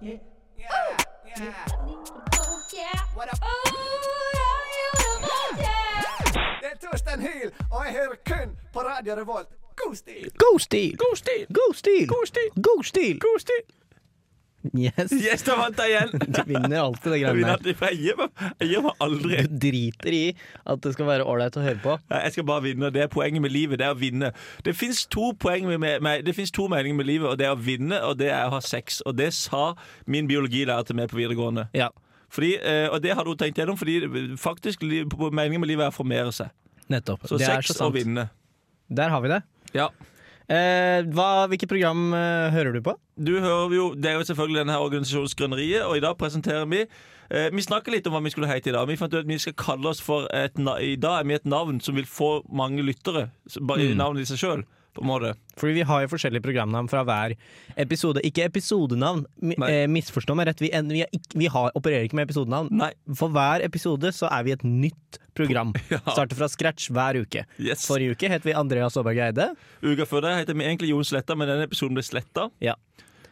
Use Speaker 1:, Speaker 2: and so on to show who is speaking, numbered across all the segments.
Speaker 1: Yeah.
Speaker 2: Yeah, yeah. What Oh, up? Det er Torstein Hyl, og jeg hører kun på Radio Revolt. God stil!
Speaker 1: God stil! God stil! God stil! God stil! God stil! Yes.
Speaker 3: Yes, da vant jeg igjen!
Speaker 1: Du vinner alltid det
Speaker 3: Jeg,
Speaker 1: greiene
Speaker 3: vinner
Speaker 1: der.
Speaker 3: alltid, for jeg gir meg, jeg gir meg aldri.
Speaker 1: Du driter i at det skal være ålreit å høre på.
Speaker 3: Nei, Jeg skal bare vinne. Det er poenget med livet. Det er å vinne. Det fins to, poeng med- med- det finnes to meninger med livet, og det er å vinne, og det er å ha sex. Og det sa min biologilærer til meg på videregående.
Speaker 1: Ja,
Speaker 3: Fordi, eh, og det har hun tenkt gjennom, fordi eh, faktisk li- meningen med livet er å formere seg.
Speaker 1: nettopp.
Speaker 3: Så
Speaker 1: det er
Speaker 3: sex
Speaker 1: så
Speaker 3: og
Speaker 1: sant.
Speaker 3: vinne.
Speaker 1: Der har vi det.
Speaker 3: Ja.
Speaker 1: Eh, hva, hvilket program eh, hører du på?
Speaker 3: Du hører jo, Det er jo selvfølgelig denne her organisasjonsgrønneriet, og i dag presenterer vi eh, Vi snakker litt om hva vi skulle hete i dag. Vi fant ut at vi skal kalle oss for et, na- I dag er vi et navn som vil få mange lyttere. så Bare
Speaker 1: Mm.
Speaker 3: i navnet i seg sjøl, på en måte.
Speaker 1: Fordi vi har jo forskjellige programnavn fra hver episode. Ikke episodenavn, mi-
Speaker 3: Nei.
Speaker 1: eh, misforstå meg rett. Vi, en- vi, er ikke, vi har, opererer ikke med episodenavn.
Speaker 3: Nei.
Speaker 1: For hver episode så er vi et nytt program. Starter fra scratch hver uke.
Speaker 3: Yes.
Speaker 1: Forrige uke het vi Andreas Aaberg Eide.
Speaker 3: Uka før det heter vi egentlig Jon Sletta, men denne episoden ble sletta.
Speaker 1: Ja.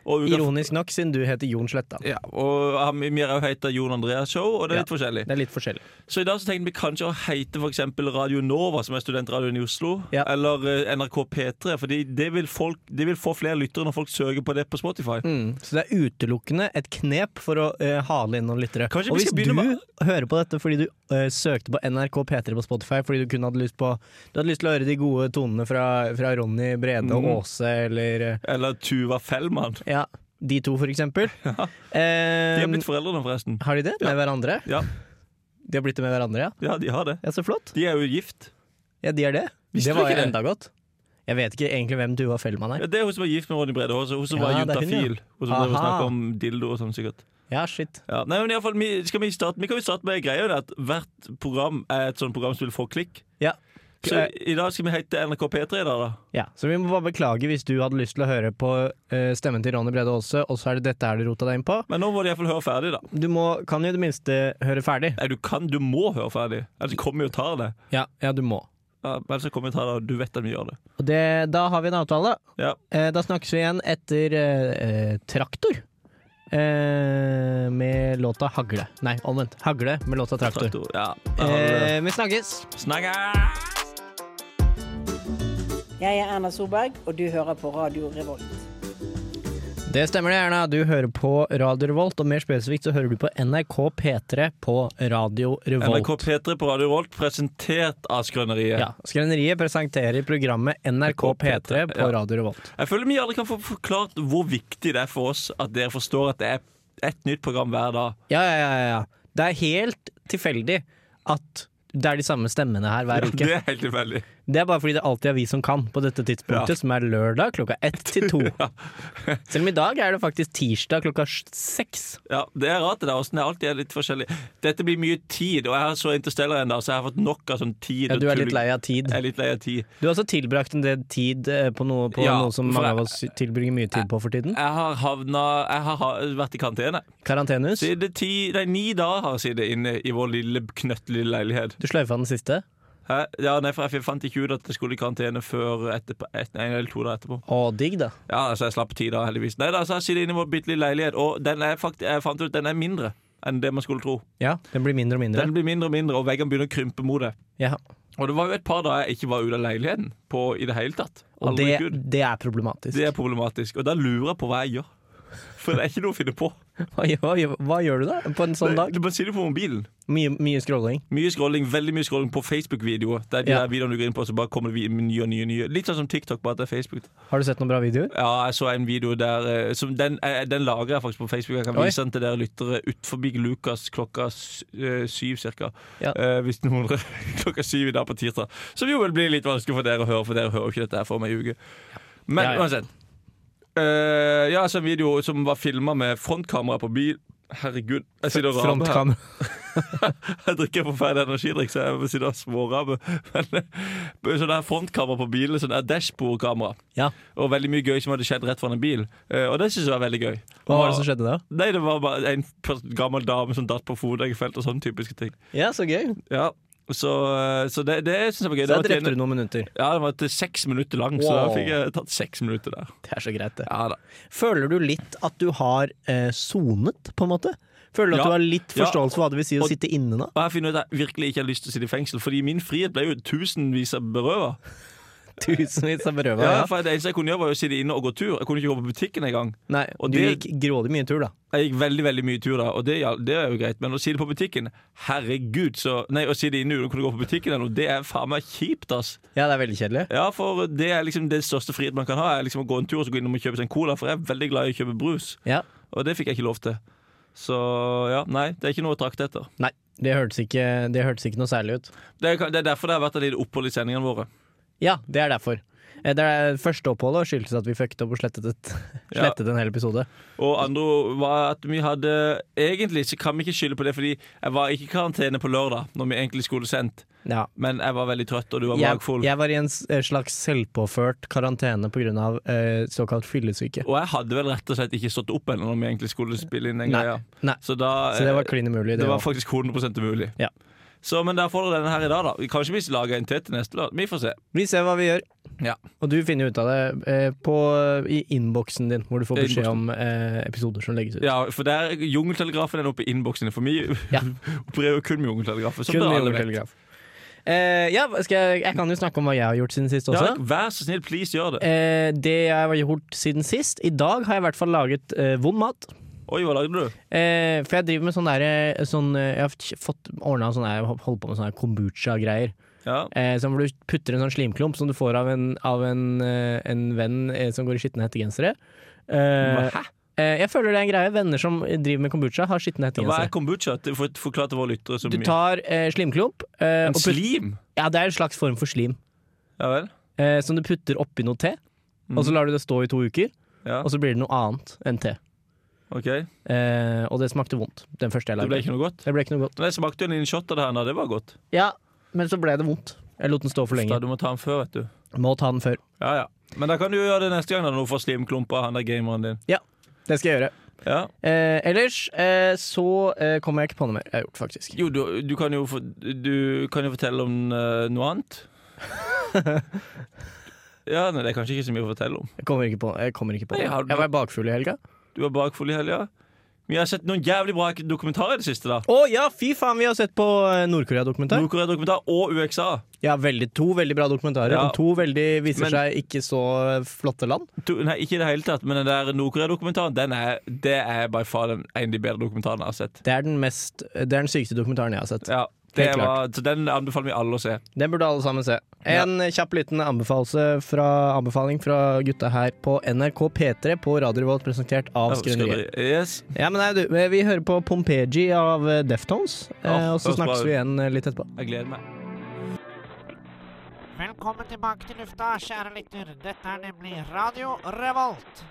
Speaker 3: Og, uka
Speaker 1: Ironisk nok, siden du heter Jon Sletta.
Speaker 3: ja, og han- vi har jo heta Jon Andreas Show, og det er litt forskjellig.
Speaker 1: Det er litt forskjellig.
Speaker 3: Så i dag så tenkte vi kanskje å heite for eksempel Radio Nova, som er studentradioen i Oslo.
Speaker 1: Ja.
Speaker 3: Eller eh, NRK P3, fordi det vil, folk, det vil få flere lyttere når folk søker på det på Spotify.
Speaker 1: Mm. Så det er utelukkende et knep for å eh, hale inn noen lyttere.
Speaker 3: Kanskje
Speaker 1: Og
Speaker 3: vi
Speaker 1: hvis
Speaker 3: skal
Speaker 1: du
Speaker 3: begynne med-
Speaker 1: hører på dette fordi du eh, søkte på NRK P3 på Spotify fordi du kun hadde lyst på Du hadde lyst til å høre de gode tonene fra, fra Ronny Brede og
Speaker 3: Mm.
Speaker 1: Åse eller eh,
Speaker 3: Eller Tuva Fellmann.
Speaker 1: Ja, de to, for eksempel.
Speaker 3: De
Speaker 1: Eh,
Speaker 3: har blitt foreldre nå, forresten.
Speaker 1: har de det med hverandre?
Speaker 3: Ja.
Speaker 1: De har blitt det med hverandre, ja.
Speaker 3: Ja, de har det.
Speaker 1: Ja, Så flott.
Speaker 3: De er jo gift.
Speaker 1: Ja, de er det.
Speaker 3: Visste
Speaker 1: det
Speaker 3: du
Speaker 1: var
Speaker 3: ikke
Speaker 1: jo
Speaker 3: det?
Speaker 1: enda godt. Jeg vet ikke egentlig hvem Tuva Fellmann er.
Speaker 3: Ja, det er hun som er gift med Ronny Brede Aase. Hun som
Speaker 1: Ja,
Speaker 3: var
Speaker 1: det er hun, ja.
Speaker 3: juntafil. Hun som drev og
Speaker 1: Aha.
Speaker 3: snakket om dildo og sånn, sikkert.
Speaker 1: Ja, shit.
Speaker 3: Ja. Nei, men i alle fall, vi, skal vi, starte, vi kan jo starte med greia det at hvert program er et sånt program som vil få klikk.
Speaker 1: Ja.
Speaker 3: Så
Speaker 1: Eh,
Speaker 3: i, i dag skal vi hete NRK P3 i dag, da.
Speaker 1: Ja, så vi må bare beklage hvis du hadde lyst til å høre på eh, stemmen til Ronny Brede Aase, og så er det dette her du rota deg inn på.
Speaker 3: Men nå må de iallfall høre ferdig, da.
Speaker 1: Du må, kan jo i det minste høre ferdig.
Speaker 3: Nei, du kan, du må høre ferdig. Ellers kommer vi og tar det.
Speaker 1: Ja, ja du må.
Speaker 3: Ja, ellers så kommer vi og tar det, og du vet at vi gjør det.
Speaker 1: Og det, da har vi en avtale.
Speaker 3: Ja.
Speaker 1: Eh, da snakkes vi igjen etter eh, eh, Traktor. Eh, med låta 'Hagle'. Nei, omvendt. 'Hagle' med låta 'Traktor'.
Speaker 3: Traktor. Ja. da har vi det.
Speaker 1: Eh, vi snakkes!
Speaker 3: Snakkes!
Speaker 4: Jeg er Erna Solberg, og du hører på Radio Revolt.
Speaker 1: Det stemmer det, Erna. Du hører på Radio Revolt, og mer spesifikt så hører du på NRK P3 på Radio Revolt.
Speaker 3: NRK P3 på Radio Volt, presentert av Skrøneriet.
Speaker 1: Ja, Skrøneriet presenterer programmet NRK P3 på
Speaker 3: Ja.
Speaker 1: Radio Revolt.
Speaker 3: Jeg føler vi aldri kan få forklart hvor viktig det er for oss at dere forstår at det er et nytt program hver dag.
Speaker 1: Ja, ja, ja, ja, ja. Det er helt tilfeldig at det er de samme stemmene her hver uke.
Speaker 3: Det er helt tilfeldig.
Speaker 1: Det er bare fordi det alltid er vi som kan på dette tidspunktet,
Speaker 3: Ja.
Speaker 1: som er lørdag klokka ett til to.
Speaker 3: Ja.
Speaker 1: Selv om i dag er det faktisk tirsdag klokka sj- seks.
Speaker 3: Ja, det er rart det der, åssen det alltid er litt forskjellig. Dette blir mye tid, og jeg har så interstellar ennå, så jeg har fått nok av sånn tid.
Speaker 1: Ja,
Speaker 3: og
Speaker 1: du er litt
Speaker 3: tulling.
Speaker 1: lei av tid.
Speaker 3: Jeg er litt lei av tid.
Speaker 1: Du har også tilbrakt en del tid eh, på noe, på
Speaker 3: Ja,
Speaker 1: noe som
Speaker 3: for
Speaker 1: mange
Speaker 3: jeg-
Speaker 1: av oss tilbringer mye tid på for tiden.
Speaker 3: Jeg har havna Jeg har ha- vært i karantene.
Speaker 1: Karantenehus.
Speaker 3: Siden ti, nei, ni dager har jeg sittet inne i vår lille, knøttlille leilighet.
Speaker 1: Du sløyfa den siste.
Speaker 3: Hæ? Ja, nei, for Jeg fant ikke ut at jeg skulle i karantene før etterpå, et, en eller to dager etterpå.
Speaker 1: Å, digg, da.
Speaker 3: Ja, altså Jeg slapp ti dager, heldigvis. Nei, da, så Jeg sitter inne i vår bitte lille leilighet, og den er fakt jeg fant ut at den er mindre enn det man skulle tro.
Speaker 1: Ja, Den blir mindre og mindre.
Speaker 3: Den blir mindre og mindre, og veggene begynner å krympe mot det.
Speaker 1: Ja.
Speaker 3: Og det var jo et par dager jeg ikke var ute av leiligheten på i det hele tatt.
Speaker 1: Og
Speaker 3: Aldri
Speaker 1: det,
Speaker 3: Gud.
Speaker 1: det er problematisk.
Speaker 3: Det er problematisk. Og da lurer jeg på hva jeg gjør. For det er ikke noe å finne på.
Speaker 1: Hva, gjør- hva gjør- hva gjør du da på en sånn dag?
Speaker 3: Du bare sitter på mobilen.
Speaker 1: Mye, mye scrolling.
Speaker 3: Mye scrolling, veldig mye scrolling på Facebook-videoer. Det er de
Speaker 1: Ja.
Speaker 3: der videoene du går inn på, så bare kommer det vi- nye og nye, nye. Litt sånn som TikTok, bare at det er Facebook.
Speaker 1: Har du sett noen bra videoer?
Speaker 3: Ja, jeg så en video der eh, som den, eh, den lagrer jeg faktisk på Facebook. Jeg kan
Speaker 1: Oi.
Speaker 3: vise den til dere lyttere utenfor Lukas klokka s- eh, syv cirka.
Speaker 1: Ja.
Speaker 3: Eh, hvis noen klokka syv i dag på tirsdag. Som jo vil bli litt vanskelig for dere å høre, for dere hører jo ikke dette her for meg i uke. Men
Speaker 1: Ja, ja.
Speaker 3: uansett. Eh, ja, så en video som var filma med frontkamera på bil. Herregud. Jeg sitter og raper her.
Speaker 1: Frontkamera.
Speaker 3: Jeg drikker forferdelig energidrikk, så jeg sitter og småraber. Men sånn der frontkamera på bilen, sånn der dashbordkamera.
Speaker 1: Ja.
Speaker 3: Og veldig mye gøy som hadde skjedd rett foran en bil. Eh, Og det syns jeg var veldig gøy.
Speaker 1: Hva var det som skjedde da?
Speaker 3: Nei, det var bare en pers- gammel dame som datt på fotleggefeltet og sånne typiske ting.
Speaker 1: Ja, så gøy.
Speaker 3: Ja. Så, eh, så det, det syns jeg var gøy.
Speaker 1: Da
Speaker 3: Det var til-
Speaker 1: drepte du noen minutter.
Speaker 3: Ja, den var til seks minutter lang, så da
Speaker 1: Wow.
Speaker 3: fikk jeg tatt seks minutter der.
Speaker 1: Det er så greit, det.
Speaker 3: Ja da.
Speaker 1: Føler du litt at du har eh, sonet, på en måte? Føler du at
Speaker 3: Ja.
Speaker 1: du har litt
Speaker 3: Ja.
Speaker 1: forståelse for hva det vil si å
Speaker 3: Og-
Speaker 1: sitte inne nå?
Speaker 3: Og jeg finner ut at jeg virkelig ikke har lyst til å sitte i fengsel, fordi min frihet ble jo tusenvis av berøva.
Speaker 1: Tusenvis av berøva.
Speaker 3: Ja,
Speaker 1: Ja,
Speaker 3: for det eneste jeg kunne gjøre, var jo å sitte inne og gå tur. Jeg kunne ikke gå på butikken engang.
Speaker 1: Nei,
Speaker 3: Og
Speaker 1: du
Speaker 3: det-
Speaker 1: gikk grådig mye tur, da.
Speaker 3: Jeg gikk veldig veldig mye tur da, og det, gjal- det er jo greit, men å sitte på butikken Herregud, så Nei, å sitte inne uten å kunne gå på butikken eller noe, det er faen meg kjipt, ass.
Speaker 1: Ja, det er veldig kjedelig.
Speaker 3: Ja, for det er liksom det største frihet man kan ha, er liksom å gå en tur og så gå innom og kjøpe seg en cola, for jeg er veldig glad i å kjøpe brus,
Speaker 1: Ja.
Speaker 3: og det fikk jeg ikke lov til. Så ja, nei, det er ikke noe å trakte etter.
Speaker 1: Nei, det hørtes ikke, det hørtes ikke noe særlig ut.
Speaker 3: Det er, det er derfor det har vært et lite opphold i sendingene våre.
Speaker 1: Ja, det er derfor. Eh, Det er første oppholdet skyldtes at vi fucket opp og slettet, et,
Speaker 3: Ja.
Speaker 1: slettet en hel episode.
Speaker 3: Og andre ord var at vi hadde Egentlig så kan vi ikke skylde på det, fordi jeg var ikke i karantene på lørdag, når vi egentlig skulle sendt,
Speaker 1: Ja.
Speaker 3: men jeg var veldig trøtt, og du var
Speaker 1: Jeg,
Speaker 3: magfull.
Speaker 1: jeg var i en s- eh, slags selvpåført karantene pga. Eh, såkalt fyllesyke.
Speaker 3: Og jeg hadde vel rett og slett ikke stått opp ennå når vi egentlig skulle spille inn den
Speaker 1: Nei.
Speaker 3: greia.
Speaker 1: Nei.
Speaker 3: Så, da,
Speaker 1: Så det var
Speaker 3: eh,
Speaker 1: klin umulig.
Speaker 3: det var
Speaker 1: også.
Speaker 3: faktisk 100 umulig.
Speaker 1: Ja.
Speaker 3: Så, men der får dere denne her i dag, da. Kanskje vi lager en til til neste lørdag. Vi får se.
Speaker 1: Vi ser hva vi gjør.
Speaker 3: Ja.
Speaker 1: Og du finner ut av det eh, på, i innboksen din, hvor du får
Speaker 3: I
Speaker 1: beskjed om eh, episoder som legges ut.
Speaker 3: Ja, for der Jungeltelegrafen er oppe i innboksen, for vi
Speaker 1: Ja.
Speaker 3: opererer jo kun med Jungeltelegrafen. som
Speaker 1: Kun
Speaker 3: dere
Speaker 1: med
Speaker 3: alle vet.
Speaker 1: Telegraf. Eh, ja, skal jeg, jeg kan jo snakke om hva jeg har gjort siden sist også.
Speaker 3: Ja, vær så snill, please gjør det.
Speaker 1: Eh, det jeg har gjort siden sist I dag har jeg i hvert fall laget eh, vond mat.
Speaker 3: Oi, hva lagde du?
Speaker 1: Eh, for jeg driver med sånn der eh, sånn, eh, Jeg har f- fått ordna sånn der, holdt på med sånne her kombucha-greier.
Speaker 3: Ja.
Speaker 1: Eh, sånn hvor du putter en sånn slimklump som du får av en, av en, eh, en venn eh, som går i skitne hettegensere. Eh,
Speaker 3: Hæ?
Speaker 1: eh, jeg føler det er en greie. Venner som driver med kombucha, har skitne
Speaker 3: Hva er
Speaker 1: hettegensere.
Speaker 3: kombucha? Det- For, forklar til våre lyttere så
Speaker 1: Du
Speaker 3: mye.
Speaker 1: tar eh, slimklump eh,
Speaker 3: En
Speaker 1: og putt-
Speaker 3: slim?
Speaker 1: Ja, det er en slags form for slim.
Speaker 3: Ja vel.
Speaker 1: Eh, som du putter oppi noe te,
Speaker 3: Mm.
Speaker 1: og så lar du det stå i to uker,
Speaker 3: Ja,
Speaker 1: og så blir det noe annet enn te.
Speaker 3: ok. Det
Speaker 1: Eh, og det smakte vondt, den første jeg lagde.
Speaker 3: ble ikke noe godt.
Speaker 1: Det ble ikke noe godt.
Speaker 3: Men jeg smakte jo en liten shot av det her, nå. det var godt.
Speaker 1: Ja, men så ble det vondt. Jeg lot den stå for
Speaker 3: Da,
Speaker 1: lenge.
Speaker 3: du må ta den før, vet du.
Speaker 1: Må ta den før.
Speaker 3: Ja, ja. Men da kan du jo gjøre det neste gang da, når du får slimklumper av han der gameren din.
Speaker 1: Ja, det skal jeg gjøre.
Speaker 3: Ja.
Speaker 1: Eh, ellers eh, så eh, kommer jeg ikke på noe mer jeg har gjort, faktisk.
Speaker 3: Jo, du, du, kan jo, for- du kan jo fortelle om eh, noe annet. Ja, nei, Det er kanskje ikke så mye å fortelle om.
Speaker 1: Jeg kommer ikke på, jeg kommer ikke på
Speaker 3: Nei,
Speaker 1: det.
Speaker 3: har du-
Speaker 1: Jeg var bakfull i helga.
Speaker 3: Du var bakfull i helga. Vi har sett noen jævlig bra dokumentarer i det siste. da
Speaker 1: Å ja, fy faen! Vi har sett på eh, Nord-Korea-dokumentar.
Speaker 3: Nordkorea-dokumentar og UXA.
Speaker 1: Ja, veldig, to veldig bra dokumentarer
Speaker 3: Ja.
Speaker 1: om to veldig, viser
Speaker 3: Men-
Speaker 1: seg ikke så eh, flotte land.
Speaker 3: To, nei, ikke i det hele tatt, men den der Nord-Korea-dokumentaren Den er, det er by far den en av de bedre dokumentarene jeg har sett.
Speaker 1: Det er den, mest, det er den sykeste dokumentaren jeg har sett.
Speaker 3: Ja, det
Speaker 1: Helt
Speaker 3: var, så Den anbefaler vi alle å se.
Speaker 1: Den burde alle sammen se. En kjapp liten anbefalelse fra, anbefaling fra gutta her på NRK P3 på Radio Revolt, presentert av Skrøneriet.
Speaker 3: Yes.
Speaker 1: Ja, men nei, du, eh, vi hører på Pompeji av eh, Deftones, eh,
Speaker 3: Ja,
Speaker 1: og så
Speaker 3: høres bra
Speaker 1: snakkes
Speaker 3: ut.
Speaker 1: vi igjen eh, litt etterpå.
Speaker 3: Jeg gleder meg.
Speaker 5: Velkommen tilbake til lufta, kjære lytter. Dette er nemlig Radio Revolt.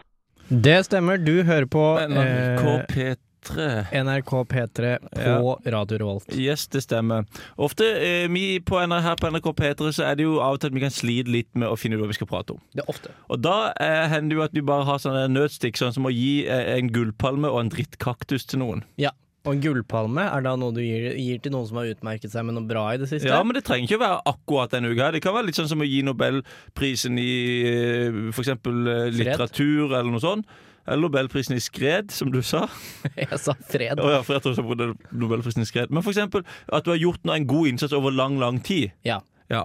Speaker 1: Det stemmer, du hører på
Speaker 3: NRK
Speaker 1: eh,
Speaker 3: P3.
Speaker 1: NRK P3 på Radio Revolt.
Speaker 3: Yes, det stemmer. Ofte eh, vi på N- her på NRK P3 så er det jo av og til at vi kan slite litt med å finne ut hva vi skal prate om.
Speaker 1: Det er ofte.
Speaker 3: Og da eh, hender det jo at vi bare har sånne nødstikk, sånn som å gi eh, en gullpalme og en drittkaktus til noen.
Speaker 1: Ja. Og en gullpalme er da noe du gir, gir til noen som har utmerket seg med noe bra i det siste?
Speaker 3: Ja, men det trenger ikke å være akkurat denne uka. her. Det kan være litt sånn som å gi Nobelprisen i eh, for eksempel eh, litteratur eller noe sånt. Eller Nobelprisen i skred, som du sa.
Speaker 1: Jeg sa fred.
Speaker 3: Å ja, for jeg tror så på det- Nobelprisen i skred. Men for eksempel at du har gjort noe- en god innsats over lang, lang tid.
Speaker 1: Ja.
Speaker 3: Ja.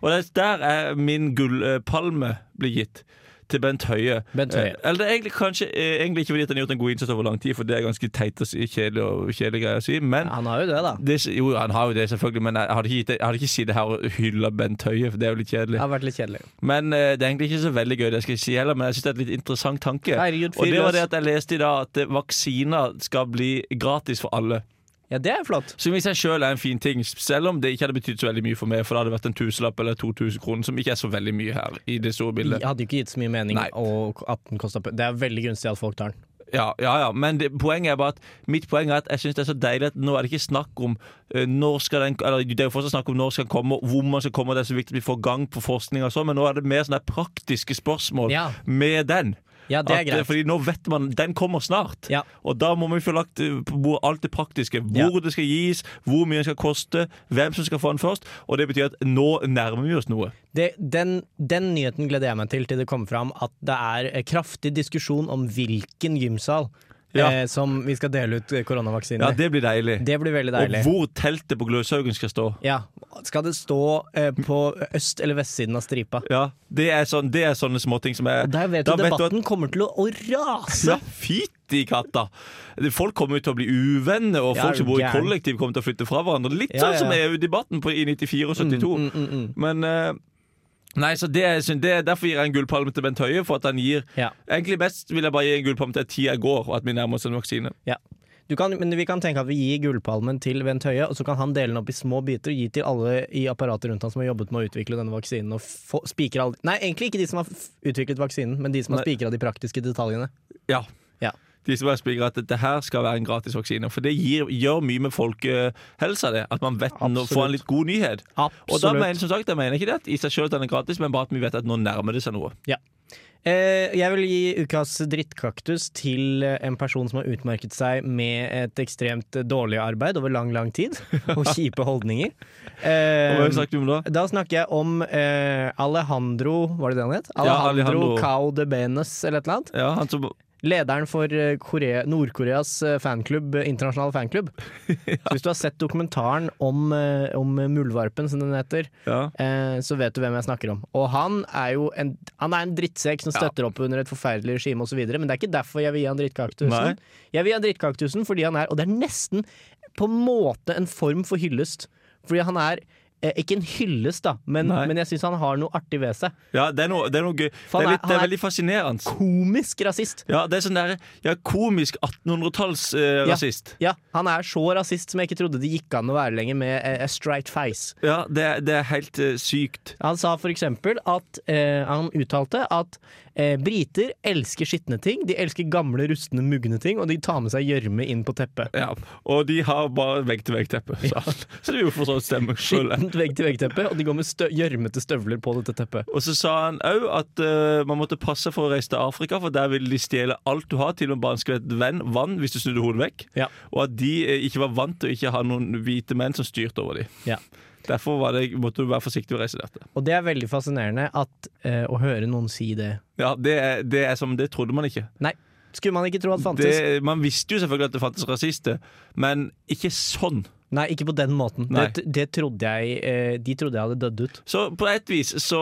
Speaker 3: Og det, der er min gullpalme blir gitt. Til Bent Høie.
Speaker 1: Bent Høie.
Speaker 3: Eh, Eller det er egentlig, kanskje, eh, egentlig ikke fordi at han har gjort en god innsats over lang tid, for det er ganske teit og si- kjedelig, og kjedelig greier å si, men
Speaker 1: Han har jo det, da.
Speaker 3: det, jo, han har jo det, selvfølgelig, men jeg hadde ikke, gitt det- jeg hadde ikke sittet her og hylla Bent Høie, for det er jo litt
Speaker 1: Det
Speaker 3: kjedelig.
Speaker 1: har vært litt kjedelig.
Speaker 3: Men eh, det er egentlig ikke så veldig gøy, det skal jeg si heller, men jeg syns det er et litt interessant tanke.
Speaker 1: Herregud, fyr
Speaker 3: og det
Speaker 1: løs.
Speaker 3: var det at jeg leste i dag at eh, vaksiner skal bli gratis for alle.
Speaker 1: Ja, det er flott.
Speaker 3: Som i seg sjøl er en fin ting, selv om det ikke hadde betydd så veldig mye for meg, for det hadde vært en tusenlapp eller 2000 kroner, som ikke er så veldig mye her i det store
Speaker 1: Det
Speaker 3: bildet.
Speaker 1: hadde jo ikke gitt så mye mening
Speaker 3: Nei.
Speaker 1: å- at den kosta Det er veldig gunstig at folk tar den.
Speaker 3: Ja, ja, ja. Men det, poenget er bare at mitt poeng er at jeg syns det er så deilig at nå er det ikke snakk om eh, når skal den Eller det er jo fortsatt snakk om når skal den komme, og hvor man skal komme, og det er så viktig at vi får gang på forskning og sånn, men nå er det mer sånne praktiske spørsmål
Speaker 1: Ja.
Speaker 3: med den.
Speaker 1: Ja, det er
Speaker 3: At, eh,
Speaker 1: greit.
Speaker 3: Fordi nå vet man den kommer snart.
Speaker 1: Ja.
Speaker 3: Og da må vi få lagt eh, på bordet alt det praktiske. Hvor
Speaker 1: Ja.
Speaker 3: det skal gis, hvor mye det skal koste, hvem som skal få den først. Og det betyr at nå nærmer vi oss noe.
Speaker 1: Det, den, den nyheten gleder jeg meg til til det kommer fram at det er eh, kraftig diskusjon om hvilken gymsal
Speaker 3: Ja.
Speaker 1: eh, som vi skal dele ut eh,
Speaker 3: Ja,
Speaker 1: koronavaksiner i.
Speaker 3: det blir deilig.
Speaker 1: det blir veldig deilig.
Speaker 3: Og hvor teltet på Gløshaugen skal stå.
Speaker 1: Ja. Skal det stå eh, på øst- eller vestsiden av stripa?
Speaker 3: Ja, Det er, sånn, det er sånne småting som er
Speaker 1: Og der vet
Speaker 3: Da
Speaker 1: du debatten
Speaker 3: at-
Speaker 1: kommer til å, å rase!
Speaker 3: ja, Fytti katta! Folk kommer jo til å bli uvenner, og
Speaker 1: Ja,
Speaker 3: folk som bor i
Speaker 1: gæren.
Speaker 3: kollektiv, kommer til å flytte fra hverandre. Litt
Speaker 1: Ja,
Speaker 3: sånn som
Speaker 1: ja, Mm, ja.
Speaker 3: EU-debatten på- i 94 og 72. Men eh, Nei, så det, er synd. det er Derfor gir jeg en gullpalme til Bent Høie. For at han gir
Speaker 1: Ja.
Speaker 3: Egentlig best vil jeg bare gi en gullpalme til at tida går, og at vi nærmer oss en vaksine.
Speaker 1: Ja. Du kan, men vi kan tenke at vi gir gullpalmen til Bent Høie, og så kan han dele den opp i små biter og gi til alle i apparatet rundt han som har jobbet med å utvikle denne vaksinen. Og få- spikre alle Nei, egentlig ikke de som har f- utviklet vaksinen, men de som har
Speaker 3: Nei.
Speaker 1: spikra de praktiske detaljene.
Speaker 3: Ja.
Speaker 1: Ja.
Speaker 3: De som er spikere at dette her skal være en gratis vaksine. For det gir, gjør mye med folkehelsa, det. At man vet nå
Speaker 1: Absolutt.
Speaker 3: får en litt god nyhet. Og da
Speaker 1: Absolutt.
Speaker 3: mener som sagt, jeg mener ikke det at i seg sjøl at den er gratis, men bare at vi vet at nå nærmer det seg noe.
Speaker 1: Eh, jeg vil gi ukas drittkaktus til eh, en person som har utmerket seg med et ekstremt eh, dårlig arbeid over lang, lang tid, og kjipe holdninger.
Speaker 3: Og hva har
Speaker 1: Eh,
Speaker 3: vi snakket om da?
Speaker 1: Da snakker jeg om eh, Alejandro Var det det han het? Alejandro,
Speaker 3: Ja, Alejandro.
Speaker 1: Cao de Benes, eller et eller annet.
Speaker 3: Ja, han som
Speaker 1: Lederen for eh, Korea, Nord-Koreas eh, fanklubb, eh, internasjonale fanklubb. Så hvis du har sett dokumentaren om, eh, om muldvarpen, som den heter,
Speaker 3: ja.
Speaker 1: eh, så vet du hvem jeg snakker om. Og han er jo en, han er en drittsekk som støtter opp under et forferdelig regime osv., men det er ikke derfor jeg vil gi han
Speaker 3: Nei.
Speaker 1: drittkaktusen. Jeg vil gi han drittkaktusen fordi han er, og det er nesten på en måte en form for hyllest, fordi han er eh, ikke en hyllest, da, men,
Speaker 3: Nei.
Speaker 1: men jeg syns han har noe artig ved seg.
Speaker 3: ja det, er noe, det er noe gøy. Det
Speaker 1: han
Speaker 3: er,
Speaker 1: er-
Speaker 3: litt, det
Speaker 1: han
Speaker 3: er
Speaker 1: er-
Speaker 3: veldig fascinerende.
Speaker 1: Komisk rasist.
Speaker 3: Ja, det er sånn der, ja, komisk eh, 1800-talls-rasist.
Speaker 1: Ja, han er så rasist som jeg ikke trodde det gikk an å være lenger med eh, a straight face.
Speaker 3: ja, det, er- det er helt eh, sykt.
Speaker 1: Han sa for eksempel at eh, Han uttalte at eh, briter elsker skitne ting. De elsker gamle, rustne, mugne ting, og de tar med seg gjørme inn på teppet.
Speaker 3: Ja, Og de har bare vegg-til-vegg-teppe. Så, så det er jo for så vidt stemmer sjøl.
Speaker 1: Skittent vegg-til-vegg-teppe, og de går med stø gjørmete støvler på dette teppet.
Speaker 3: Og så sa han òg at eh, man måtte passe for å reise til Afrika, for der vil de stjele alt du har, til og med bare en skvett venn, vann, hvis du snudde hodet vekk.
Speaker 1: Ja.
Speaker 3: Og at de eh, ikke var vant til å ikke ha noen hvite menn som styrte over dem.
Speaker 1: Ja.
Speaker 3: Derfor var det, måtte du være forsiktig med å reise dette.
Speaker 1: Og det er veldig fascinerende at, eh, å høre noen si det.
Speaker 3: Ja, det, er, det er som Det trodde man ikke.
Speaker 1: Nei, skulle man ikke tro at fantes.
Speaker 3: Det, man visste jo selvfølgelig at det fantes rasister, men ikke sånn.
Speaker 1: Nei, ikke på den måten.
Speaker 3: Nei.
Speaker 1: Det, det trodde jeg, eh, de trodde jeg hadde dødd ut.
Speaker 3: Så på et vis så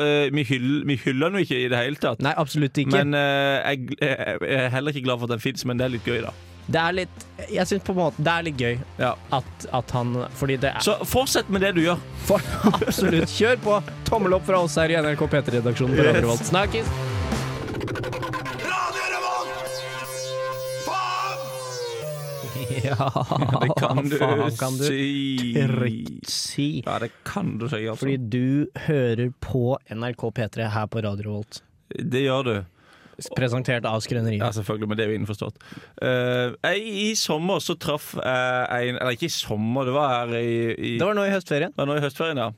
Speaker 3: eh, Vi hyller, vi hyller den jo ikke i det hele tatt.
Speaker 1: Nei, absolutt ikke.
Speaker 3: Men eh, jeg, jeg, jeg er heller ikke glad for at den fins, men det er litt gøy, da.
Speaker 1: Det er litt Jeg synes på en måte det er litt gøy
Speaker 3: Ja.
Speaker 1: at, at han Fordi det er
Speaker 3: Så fortsett med det du gjør.
Speaker 1: for, Absolutt. Kjør på! Tommel opp fra oss her i NRK P3-redaksjonen på Radio
Speaker 3: Yes.
Speaker 1: Revolt. Snakkes!
Speaker 2: Radio Revolt! Faen!
Speaker 1: Ja,
Speaker 3: Det kan du,
Speaker 1: faen kan du
Speaker 3: si.
Speaker 1: trygt si.
Speaker 3: Ja, det kan du si, altså.
Speaker 1: Fordi du hører på NRK P3 her på Radio Revolt.
Speaker 3: det gjør du.
Speaker 1: Presentert av
Speaker 3: Ja,
Speaker 1: Skrøneriet.
Speaker 3: selvfølgelig, men det er jo innforstått. Eh, jeg, I sommer så traff jeg en Eller ikke i sommer, det var her i, i
Speaker 1: Det var nå i høstferien.
Speaker 3: Det var nå i høstferien, ja.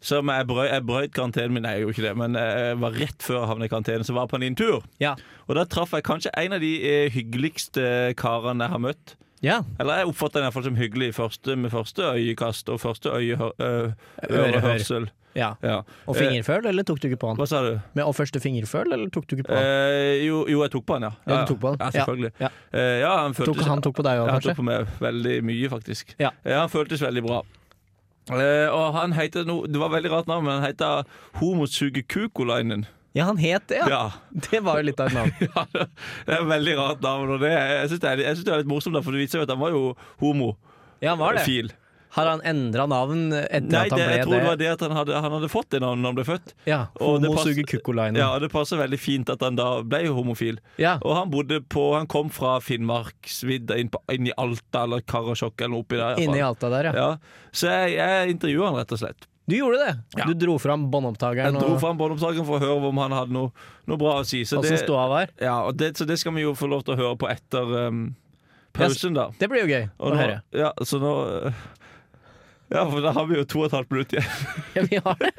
Speaker 3: Som jeg, brøy, jeg brøyt karantenen min. Nei, jeg gjorde ikke det, men eh, jeg var rett før jeg havna i karantene, så var jeg på en liten tur.
Speaker 1: Ja.
Speaker 3: Og da traff jeg kanskje en av de eh, hyggeligste eh, karene jeg har møtt.
Speaker 1: ja.
Speaker 3: Eller jeg oppfatter den iallfall som hyggelig i første, med første øyekast og første øyehør, ø-
Speaker 1: Ørehør.
Speaker 3: ørehørsel.
Speaker 1: ja.
Speaker 3: Ja.
Speaker 1: Og fingerføl, eller tok du ikke på
Speaker 3: Eh,
Speaker 1: han?
Speaker 3: hva sa du?
Speaker 1: Med og første fingerføl, eller tok du ikke på han?
Speaker 3: Eh, jo, jo, jeg tok på han, ja.
Speaker 1: Ja, du tok på han.
Speaker 3: Ja, selvfølgelig.
Speaker 1: Ja.
Speaker 3: Eh, ja, han følte
Speaker 1: Tok, han tok på deg òg,
Speaker 3: Ja, Han
Speaker 1: kanskje?
Speaker 3: tok på meg veldig mye, faktisk.
Speaker 1: Ja.
Speaker 3: han føltes veldig bra. Eh, og han heter no, Det var veldig rart navn, men han heter Homosuge Kukolainen.
Speaker 1: Ja, han het det, ja.
Speaker 3: Ja.
Speaker 1: Det var jo litt av et navn.
Speaker 3: ja. Det er et veldig rart navn. Og det, jeg syns det, er- jeg synes det er litt morsomt, da, for det viser jo at han var jo homo.
Speaker 1: Ja, han var det.
Speaker 3: Fil.
Speaker 1: Har han endra navn etter
Speaker 3: Nei,
Speaker 1: at han
Speaker 3: det,
Speaker 1: ble
Speaker 3: jeg tror det var det at han hadde, han hadde fått det navnet da han ble født.
Speaker 1: Ja,
Speaker 3: Og det
Speaker 1: Homo
Speaker 3: pass-
Speaker 1: suger kukkolainen.
Speaker 3: Ja, og Det passer veldig fint at han da ble homofil.
Speaker 1: Ja.
Speaker 3: Og han bodde på Han kom fra Finnmarksvidda, inn, på- inn i Alta eller Karasjok eller noe oppi der. i hvert fall.
Speaker 1: Inni Alta der, ja.
Speaker 3: Ja. Så jeg, jeg intervjua han rett og slett.
Speaker 1: Du gjorde det! Du dro fram båndopptakeren
Speaker 3: Jeg dro
Speaker 1: og
Speaker 3: fram båndopptakeren for å høre om han hadde noe, noe bra å si. Så
Speaker 1: åssen
Speaker 3: det,
Speaker 1: ståa var.
Speaker 3: ja, og det, så det skal vi jo få lov til å høre på etter um, pausen, da.
Speaker 1: Det blir jo gøy
Speaker 3: Og
Speaker 1: å
Speaker 3: nå,
Speaker 1: høre.
Speaker 3: ja, så nå øh, Ja, for da har vi jo to og et halvt minutt igjen.
Speaker 1: Ja, vi har det.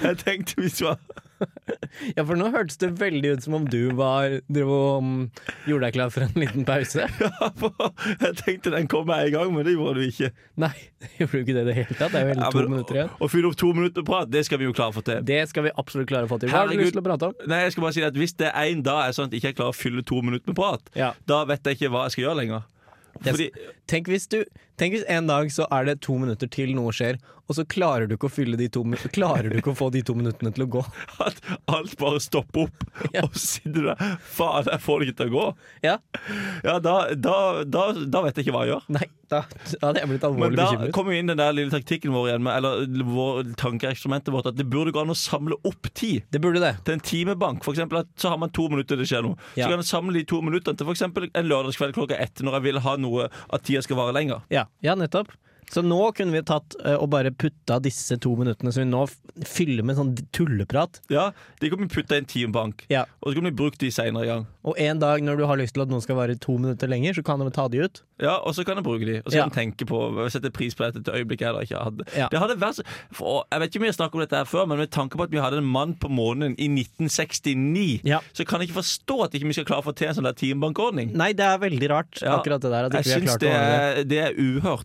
Speaker 3: Jeg tenkte vi skulle
Speaker 1: Ja, for nå hørtes det veldig ut som om du var drev og mm, gjorde deg klar for en liten pause.
Speaker 3: jeg tenkte den kom med en gang, men det gjorde du ikke.
Speaker 1: Nei, gjorde du ikke det i det hele tatt? Det er jo hele
Speaker 3: Ja,
Speaker 1: to
Speaker 3: men
Speaker 1: minutter igjen.
Speaker 3: å- Å fylle opp to minutter med prat, det skal vi jo klare å få til.
Speaker 1: Det skal vi absolutt klare å få til. Hva har du
Speaker 3: Herregud.
Speaker 1: lyst til å prate om?
Speaker 3: Nei, jeg skal bare si at Hvis det er en dag er sånn at jeg ikke klarer å fylle to minutter med prat,
Speaker 1: Ja.
Speaker 3: da vet jeg ikke hva jeg skal gjøre lenger.
Speaker 1: Jeg-
Speaker 3: Fordi,
Speaker 1: Tenk hvis, du, tenk hvis en dag så er det to minutter til noe skjer, og så klarer du ikke å, fylle de to, mi- klarer du ikke å få de to minuttene til å gå.
Speaker 3: at alt bare stopper opp,
Speaker 1: Ja.
Speaker 3: og så sitter du der Faen, jeg får det ikke til å gå.
Speaker 1: Ja,
Speaker 3: Ja, da, da, da, da vet jeg ikke hva jeg gjør.
Speaker 1: Nei, da, da hadde jeg blitt
Speaker 3: Men
Speaker 1: alvorlig
Speaker 3: da
Speaker 1: bekymret.
Speaker 3: kommer jo inn den der lille taktikken vår igjen, med, eller vår tankeeksperimentet vårt, at det burde gå an å samle opp tid.
Speaker 1: Det burde det.
Speaker 3: Til en timebank, for eksempel, at så har man to minutter det skjer noe.
Speaker 1: Ja.
Speaker 3: Så kan man samle de to minuttene til for eksempel en lørdagskveld klokka ett, når jeg vil ha noe at tida skal vare lenger.
Speaker 1: Ja, ja nettopp. Så nå kunne vi tatt eh, og bare putta disse to minuttene som vi nå f- fyller med sånn tulleprat.
Speaker 3: Ja, De kan vi putte i en timebank,
Speaker 1: Ja.
Speaker 3: og så kan vi bruke de seinere i gang.
Speaker 1: Og en dag når du har lyst til at noen skal være to minutter lenger, så kan du ta de ut.
Speaker 3: Ja, og så kan jeg bruke de. Og så
Speaker 1: Ja.
Speaker 3: kan jeg tenke på sette pris på dette til øyeblikket jeg da ikke hadde.
Speaker 1: Ja.
Speaker 3: Det hadde vært så, for, Jeg vet ikke om jeg snakket om dette her før, men med tanke på at vi hadde en mann på månen i 1969,
Speaker 1: Ja.
Speaker 3: så kan jeg ikke forstå at ikke vi skal klare å få til en sånn der timebankordning.
Speaker 1: Nei, det er veldig rart,
Speaker 3: Ja.
Speaker 1: akkurat det der. At
Speaker 3: Jeg
Speaker 1: ikke vi har
Speaker 3: syns
Speaker 1: klart
Speaker 3: det,
Speaker 1: å ordne det.
Speaker 3: er- det er uhørt.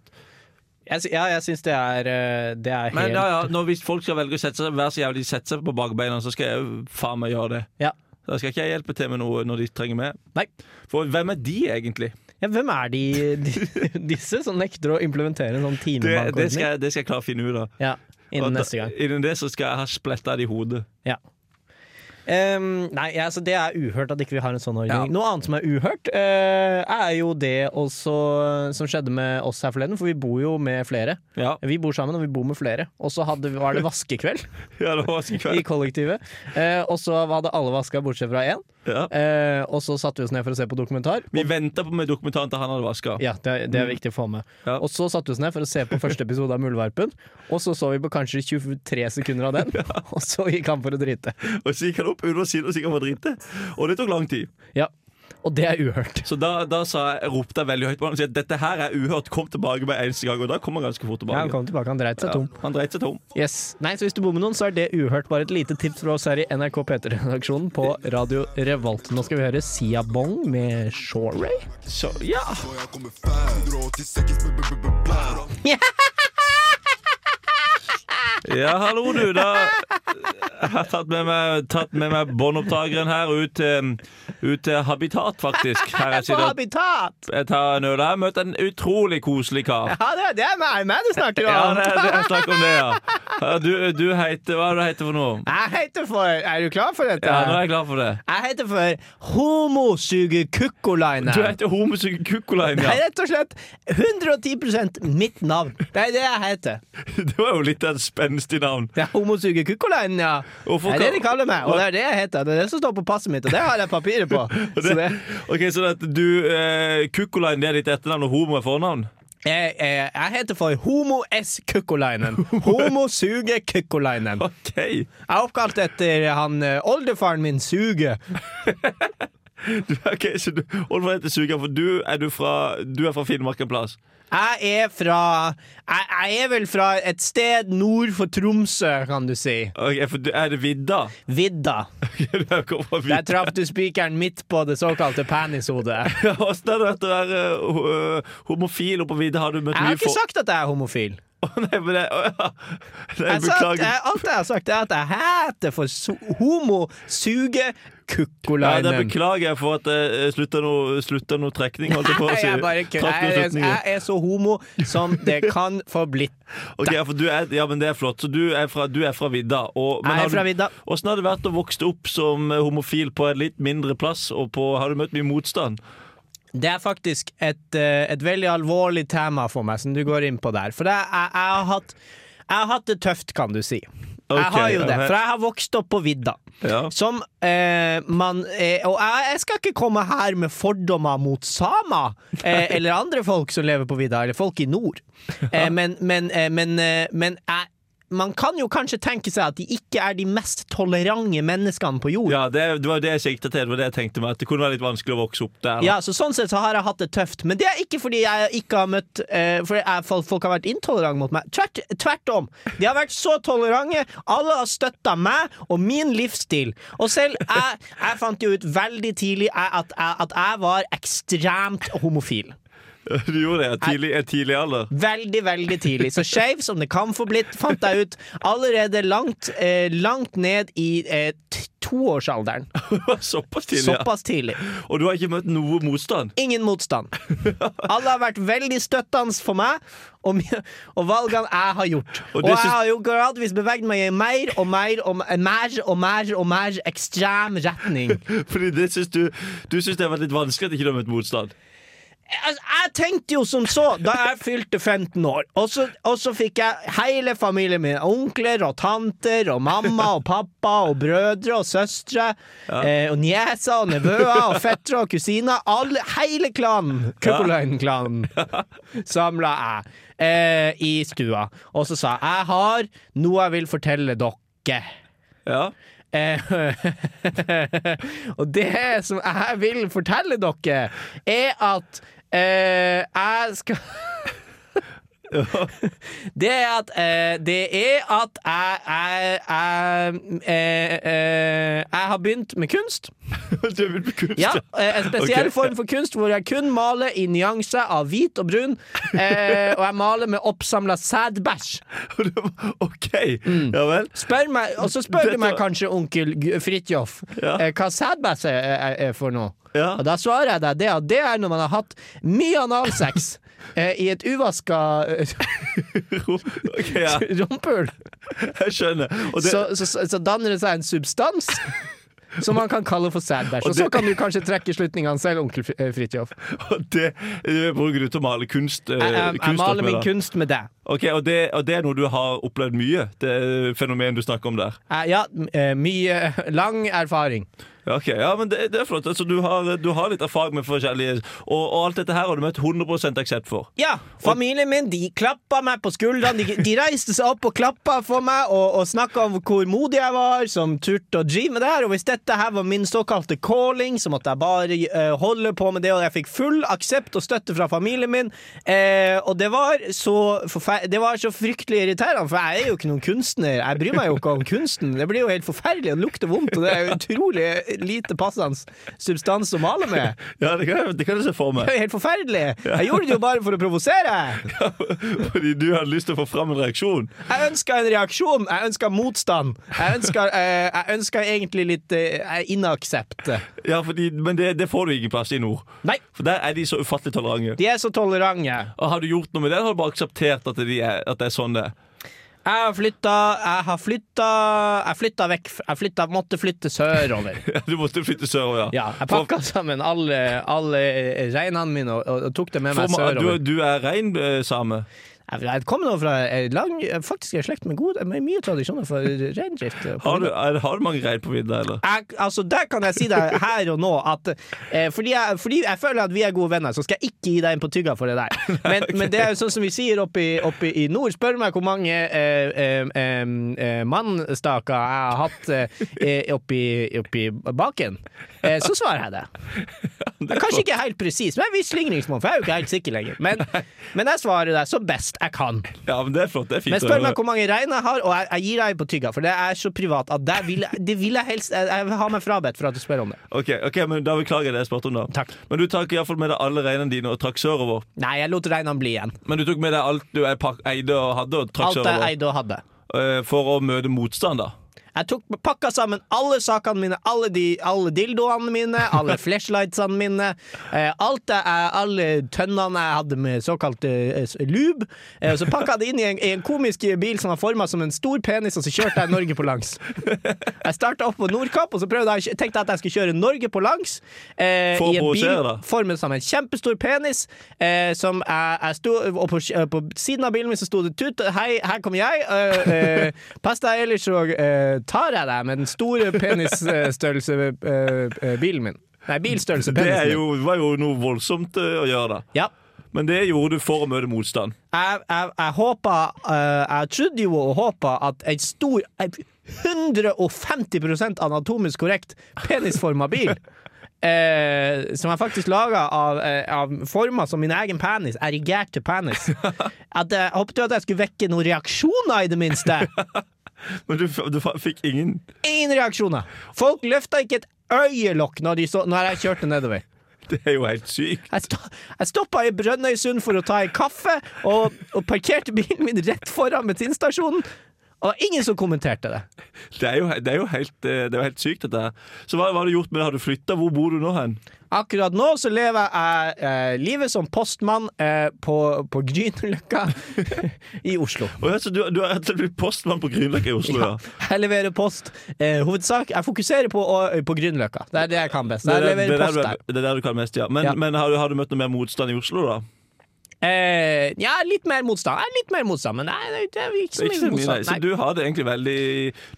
Speaker 1: Jeg, sy- ja, jeg syns det er eh, Det er helt
Speaker 3: Men ja, ja, når hvis folk skal velge å sette seg, vær så jævlig sette seg på bakbeina, så skal jeg jo faen meg gjøre det.
Speaker 1: Ja.
Speaker 3: Da skal ikke jeg hjelpe til med noe når de trenger meg.
Speaker 1: Nei.
Speaker 3: For hvem er de, egentlig?
Speaker 1: Ja, hvem er de, de disse som nekter å implementere en sånn
Speaker 3: Det, det, skal,
Speaker 1: timebankordning?
Speaker 3: jeg, det skal jeg klare å finne ut av.
Speaker 1: Ja,
Speaker 3: Og
Speaker 1: innen
Speaker 3: da-
Speaker 1: neste gang.
Speaker 3: Innen det så skal jeg ha spletta det i hodet.
Speaker 1: Ehm, nei, altså det er uhørt at ikke vi har en sånn ordning.
Speaker 3: Ja.
Speaker 1: Noe annet som er uhørt, eh, er jo det også eh, som skjedde med oss her forleden, for vi bor jo med flere.
Speaker 3: Ja.
Speaker 1: Vi bor sammen, og vi bor med flere. Og så hadde- var det vaskekveld
Speaker 3: Ja, det var sånn
Speaker 1: i
Speaker 3: kveld.
Speaker 1: kollektivet. Eh, og så hadde alle vaska bortsett fra én.
Speaker 3: Ja.
Speaker 1: Eh, og så satte vi oss ned for å se på dokumentar.
Speaker 3: Vi venta på med dokumentaren til han hadde vaska.
Speaker 1: Ja, det er, det er viktig å få med.
Speaker 3: Ja.
Speaker 1: Og så satte vi oss ned for å se på første episode av Muldvarpen. Og så så vi på kanskje 23 sekunder av den, og så gikk han for å drite.
Speaker 3: Og så gikk han opp under siden og så gikk han for drite. Og det tok lang tid.
Speaker 1: Ja. Og det er uhørt.
Speaker 3: Så da, da sa jeg, jeg ropte jeg veldig høyt på han og sa at dette her er uhørt, kom tilbake med eneste gang. Og da kom han ganske fort
Speaker 1: Ja, han
Speaker 3: tilbake.
Speaker 1: kom tilbake, han dreit seg
Speaker 3: Ja,
Speaker 1: tom.
Speaker 3: han dreit seg tom.
Speaker 1: Yes. Nei, så hvis du bor med noen, så er det uhørt. Bare et lite tips fra oss her i NRK P3-redaksjonen på Radio Revolt. Nå skal vi høre Sia Bong med Shorey.
Speaker 3: Så ja.
Speaker 6: Og jeg kommer 586 b-b-b-blæra.
Speaker 3: ja, hallo, du. Da jeg har tatt med meg, tatt med meg båndopptakeren her ut til, ut til Habitat, faktisk. Her jeg
Speaker 1: På
Speaker 3: sitter
Speaker 1: Habitat!
Speaker 3: jeg tar en øl. Jeg har møtt en utrolig koselig kar.
Speaker 1: Ja, det, det er meg, meg du snakker
Speaker 3: Ja,
Speaker 1: om.
Speaker 3: det, det, jeg snakker om det, ja. ja. Du, du heter Hva er det du heter for noe?
Speaker 1: Jeg heter for Er du klar for dette?
Speaker 3: Ja, nå er jeg klar for det.
Speaker 1: Jeg heter for Homosuge-kukkolaine.
Speaker 3: Du heter homosuge kukkolain,
Speaker 1: Det er
Speaker 3: ja.
Speaker 1: rett og slett 110 mitt navn. Det er det jeg heter.
Speaker 3: Det var jo litt av et spenstig navn.
Speaker 1: Det er homosuge kukkolainen, ja.
Speaker 3: Hvorfor
Speaker 1: Det er det de
Speaker 3: kan-
Speaker 1: kaller meg, og det er det jeg heter. Det er det som står på passet mitt, og det har jeg papiret på.
Speaker 3: Og
Speaker 1: Så
Speaker 3: Det,
Speaker 1: det,
Speaker 3: ok, Så det at du eh, Kukkolain det er ditt etternavn, og homo er fornavn?
Speaker 1: jeg, jeg, jeg heter for Homo S. Kukkolainen. Homosuge kukkolainen.
Speaker 3: OK.
Speaker 1: Jeg er oppkalt etter han eh, oldefaren min Suge.
Speaker 3: Du, ok, så du, og hva heter Suga? For du er, du fra, du er fra Finnmark en plass?
Speaker 1: Jeg er fra jeg, jeg er vel fra et sted nord for Tromsø, kan du si.
Speaker 3: Ok, for du, er det vidda?
Speaker 1: Vidda.
Speaker 3: Ok, du er ikke fra
Speaker 1: Der
Speaker 3: vidda.
Speaker 1: traff du spikeren midt på det såkalte penishodet.
Speaker 3: Åssen er det å være eh, ho- eh, homofil oppe på vidda? Har du møtt
Speaker 1: Jeg har
Speaker 3: mye
Speaker 1: ikke
Speaker 3: folk?
Speaker 1: sagt at jeg er homofil.
Speaker 3: Nei, men det, å, ja.
Speaker 1: Jeg sa
Speaker 3: Nei,
Speaker 1: at,
Speaker 3: beklager.
Speaker 1: jeg, alt jeg har sagt, er at jeg heter for so
Speaker 3: Ja, det
Speaker 1: homo-suge-kukkolainen.
Speaker 3: beklager jeg for at eh, jeg slutta noe, slutta noe trekning, holdt jeg på å si.
Speaker 1: jeg, bare kødder.
Speaker 3: Trakk noe
Speaker 1: jeg, er-
Speaker 3: trekninger.
Speaker 1: jeg er så homo som det kan få blitt.
Speaker 3: Ok, ja, for du er, ja, men det er flott. Så du er fra, du er fra vidda. Og,
Speaker 1: Jeg er fra
Speaker 3: vidda.
Speaker 1: vidda.
Speaker 3: Åssen har det vært å vokse opp som eh, homofil på en litt mindre plass, og på, har du møtt mye motstand?
Speaker 1: Det er faktisk et, eh, et veldig alvorlig tema for meg, som du går inn på der. For jeg, jeg, jeg, har, hatt, jeg har hatt det tøft, kan du si. jeg
Speaker 3: Ok,
Speaker 1: har jo det,
Speaker 3: ok.
Speaker 1: for jeg har vokst opp på vidda.
Speaker 3: Ja.
Speaker 1: Som eh, man eh, Og jeg, jeg skal ikke komme her med fordommer mot samer eh, eller andre folk som lever på vidda, eller folk i nord. Eh, men men, eh, men, eh, men jeg man kan jo kanskje tenke seg at de ikke er de mest tolerante menneskene på jord. Ja.
Speaker 3: Ja, det, det var jo det jeg sikta til. Det var det jeg tenkte meg At det kunne være litt vanskelig å vokse opp der. da.
Speaker 1: så Sånn sett så har jeg hatt det tøft, men det er ikke fordi jeg ikke har møtt eh, Fordi jeg, folk, folk har vært intolerante mot meg. Tvert, tvert om. De har vært så tolerante. Alle har støtta meg og min livsstil. Og selv jeg, jeg fant jo ut veldig tidlig jeg- at, jeg- at jeg var ekstremt homofil.
Speaker 3: Du gjorde det i tidlig, i tidlig alder.
Speaker 1: Veldig, veldig tidlig. Så skeiv som det kan få blitt, fant jeg ut allerede langt, eh, langt ned i eh, t- toårsalderen.
Speaker 3: Det var Såpass tidlig, ja.
Speaker 1: Såpass tidlig.
Speaker 3: Og du har ikke møtt noe motstand?
Speaker 1: Ingen motstand. Alle har vært veldig støttende for meg og, mi- og valgene jeg har gjort.
Speaker 3: Og
Speaker 1: Og,
Speaker 3: det
Speaker 1: jeg
Speaker 3: syns-
Speaker 1: har jo gradvis beveget meg i mer og mer og mer og mer, og mer ekstrem retning.
Speaker 3: Fordi det syns du Du syns det har vært litt vanskelig at ikke du har møtt motstand?
Speaker 1: altså, jeg tenkte jo som så da jeg fylte 15 år. Og så, og så fikk jeg hele familien min. Onkler og tanter og mamma og pappa og brødre og søstre. Eh, og nieser og nevøer og fettere og kusiner. Alle, hele klanen, Kuppeløyen-klanen, samla jeg eh, i stua. Og så sa jeg jeg har noe jeg vil fortelle dere.
Speaker 3: Ja.
Speaker 1: Eh, og det som jeg vil fortelle dere, er at eh, jeg skal Det er at eh, Det er at jeg jeg, jeg, eh, eh, jeg har begynt med kunst.
Speaker 3: Du har begynt med kunst?
Speaker 1: Ja, eh, En spesiell
Speaker 3: Ok.
Speaker 1: form for kunst hvor jeg kun maler i nyanser av hvit og brun. Eh, og jeg maler med oppsamla sædbæsj.
Speaker 3: Og du- OK.
Speaker 1: Mm.
Speaker 3: Ja vel.
Speaker 1: Spør meg, og så spør
Speaker 3: Dette-
Speaker 1: du meg kanskje, onkel G- Fridtjof,
Speaker 3: Ja.
Speaker 1: eh, hva sædbæsj er, er, er for noe.
Speaker 3: Ja.
Speaker 1: Og da svarer jeg deg det at det er når man har hatt mye analsex eh, i et uvaska eh,
Speaker 3: Ok, ja.
Speaker 1: rumpehull,
Speaker 3: Jeg skjønner. Og det,
Speaker 1: så, så, så, så danner det seg en substans. Som man kan kalle for sædbæsj.
Speaker 3: Og
Speaker 1: Og så
Speaker 3: det-
Speaker 1: kan du kanskje trekke slutningene selv, onkel Fri- eh, Fridtjof. Jeg,
Speaker 3: og det eh, bruker du til å male kunst? eh,
Speaker 1: jeg, jeg
Speaker 3: kunst opp
Speaker 1: maler
Speaker 3: med,
Speaker 1: min
Speaker 3: da.
Speaker 1: kunst med deg.
Speaker 3: Ok, og det, og det er noe du har opplevd mye? Det eh, fenomenet du snakker om der?
Speaker 1: Jeg, ja, m- eh, mye eh, lang erfaring.
Speaker 3: Ja, Ok, ja, men det, det er flott. Altså, du, har, du har litt erfaring med forskjellige og, og alt dette her har du møtt 100 aksept for.
Speaker 1: Ja, familien min de klappa meg på skuldrene. De, de reiste seg opp og klappa for meg og, og snakka om hvor modig jeg var som turte å drive med det her. Og hvis dette her var min såkalte calling, så måtte jeg bare eh, holde på med det. Og jeg fikk full aksept og støtte fra familien min. Eh, og det var, så forfer- det var så fryktelig irriterende, for jeg er jo ikke noen kunstner. Jeg bryr meg jo ikke om kunsten. Det blir jo helt forferdelig, og det lukter vondt, og det er jo utrolig lite passende substans å male med.
Speaker 3: Ja, det kan, jeg- det kan jeg se for meg.
Speaker 1: Det er jo helt forferdelig. Jeg gjorde det jo bare for å provosere.
Speaker 3: Fordi du hadde lyst til å få fram en reaksjon.
Speaker 1: Jeg ønska en reaksjon, jeg ønska motstand. Jeg ønska, eh, jeg ønska egentlig litt eh, inaksept.
Speaker 3: Ja, fordi, Men det, det får du ingen plass i nord.
Speaker 1: Nei,
Speaker 3: For der er de så ufattelig tolerante.
Speaker 1: de er så tolerante.
Speaker 3: Og Har du gjort noe med det, eller har du bare akseptert at, de er, at det er sånn det er?
Speaker 1: Jeg har flytta Jeg har flytta Jeg flytta vekk f- Jeg flytta, måtte flytte sørover.
Speaker 3: Du måtte flytte sørover, ja.
Speaker 1: Ja, jeg pakka sammen alle, alle reinene mine og, og, og tok det med
Speaker 3: For,
Speaker 1: meg
Speaker 3: for, du,
Speaker 1: sørover.
Speaker 3: du er rein eh, same?
Speaker 1: Jeg, jeg kom nå fra en lang Faktisk er jeg i slekt med god med mye tradisjoner for reindrift. eh, på
Speaker 3: Har du, er, har du mange rein på vidda, eller?
Speaker 1: jeg, altså Der kan jeg si deg her og nå at eh, fordi, jeg, fordi jeg føler at vi er gode venner, så skal jeg ikke gi deg en på tygga for det der. Men, men det er jo sånn som vi sier oppe i, oppe i nord. Spør meg hvor mange eh, eh, eh, eh, mannstaker jeg har hatt eh, oppi, oppi baken. Eh, så svarer jeg det.
Speaker 3: Det er
Speaker 1: Kanskje ikke helt presis, men vi slingringsmonn, for jeg er jo ikke helt sikker lenger. Men, men jeg svarer deg så best jeg kan.
Speaker 3: flott. Ja, men det er flott. Det er fint.
Speaker 1: Men spør meg hvor mange rein jeg har, og jeg, jeg gir deg på tygga, for det er så privat at det vil, jeg- det vil jeg helst Jeg, jeg har meg frabedt for at du spør om det.
Speaker 3: Ok, ok, men Da beklager jeg det jeg spurte om, da.
Speaker 1: Takk.
Speaker 3: Men du tok iallfall med deg alle reinene dine og trakk sørover.
Speaker 1: Nei, jeg lot reinene bli igjen.
Speaker 3: Men du tok med deg alt du er pak- eide og hadde, og trakk
Speaker 1: Alt jeg
Speaker 3: sørover
Speaker 1: eide og hadde.
Speaker 3: eh, for å møte motstand, da.
Speaker 1: Jeg tok pakka sammen alle sakene mine, alle, de, alle dildoene mine, alle flashlightsene mine, eh, alt jeg, eh, alle tønnene jeg hadde med såkalt eh, s- lube, eh, og så pakka jeg det inn i en, i en komisk bil som var forma som en stor penis, og så kjørte jeg Norge på langs. Jeg starta opp på Nordkapp, og så prøvde jeg, tenkte jeg at jeg skulle kjøre Norge på langs eh,
Speaker 3: For å
Speaker 1: i en bil
Speaker 3: provosere, da.
Speaker 1: formet som en kjempestor penis, eh, som jeg, jeg sto, og på, eh, på siden av bilen min så sto det tut, hei, her kommer jeg, eh, eh, pass deg, ellers så eh, tar jeg deg med den store penisstørrelse eh, eh, bilen min. Nei, bilstørrelse
Speaker 3: Det
Speaker 1: penisen
Speaker 3: er
Speaker 1: min.
Speaker 3: jo, var jo noe voldsomt eh, å gjøre, da.
Speaker 1: Ja.
Speaker 3: Men det gjorde du for å møte motstand.
Speaker 1: Jeg, jeg, jeg håper eh, Jeg trodde jo og håpa at en stor en 150 anatomisk korrekt penisforma bil eh, som jeg faktisk laga av, eh, av former som min egen penis, erigerte penis At Jeg håpet jo at jeg skulle vekke noen reaksjoner, i det minste.
Speaker 3: Men du, f- du f- fikk ingen
Speaker 1: Ingen reaksjoner! Folk løfta ikke et øyelokk når, de så, når jeg kjørte nedover.
Speaker 3: Det er jo helt sykt.
Speaker 1: Jeg, sto, jeg stoppa i Brønnøysund for å ta en kaffe, og, og parkerte bilen min rett foran bensinstasjonen. Og det var ingen som kommenterte det.
Speaker 3: Det er jo, det er jo, helt, eh, det er jo helt sykt, dette her. Så hva, hva har du gjort med det? Har du flytta? Hvor bor du nå hen?
Speaker 1: Akkurat nå så lever jeg eh, livet som postmann eh, på, på Grünerløkka i Oslo.
Speaker 3: Å ja, så du, du er rett og slett blitt postmann på Grünerløkka i Oslo, ja.
Speaker 1: Jeg leverer post. Eh, hovedsak Jeg fokuserer på, å- på Grünerløkka. Det er det jeg kan best.
Speaker 3: Det
Speaker 1: Jeg
Speaker 3: er, der, det, er
Speaker 1: leverer
Speaker 3: der
Speaker 1: post
Speaker 3: du,
Speaker 1: der.
Speaker 3: er- det er der du kan mest, ja. Men,
Speaker 1: Ja.
Speaker 3: men har, du, har du møtt noe mer motstand i Oslo, da?
Speaker 1: Eh, ja, litt mer motstand. Jeg er litt mer motstand, men nei, det er ikke så
Speaker 3: Ikke så
Speaker 1: mye
Speaker 3: mye, nei. Så
Speaker 1: motstand. Nei.
Speaker 3: du har det egentlig veldig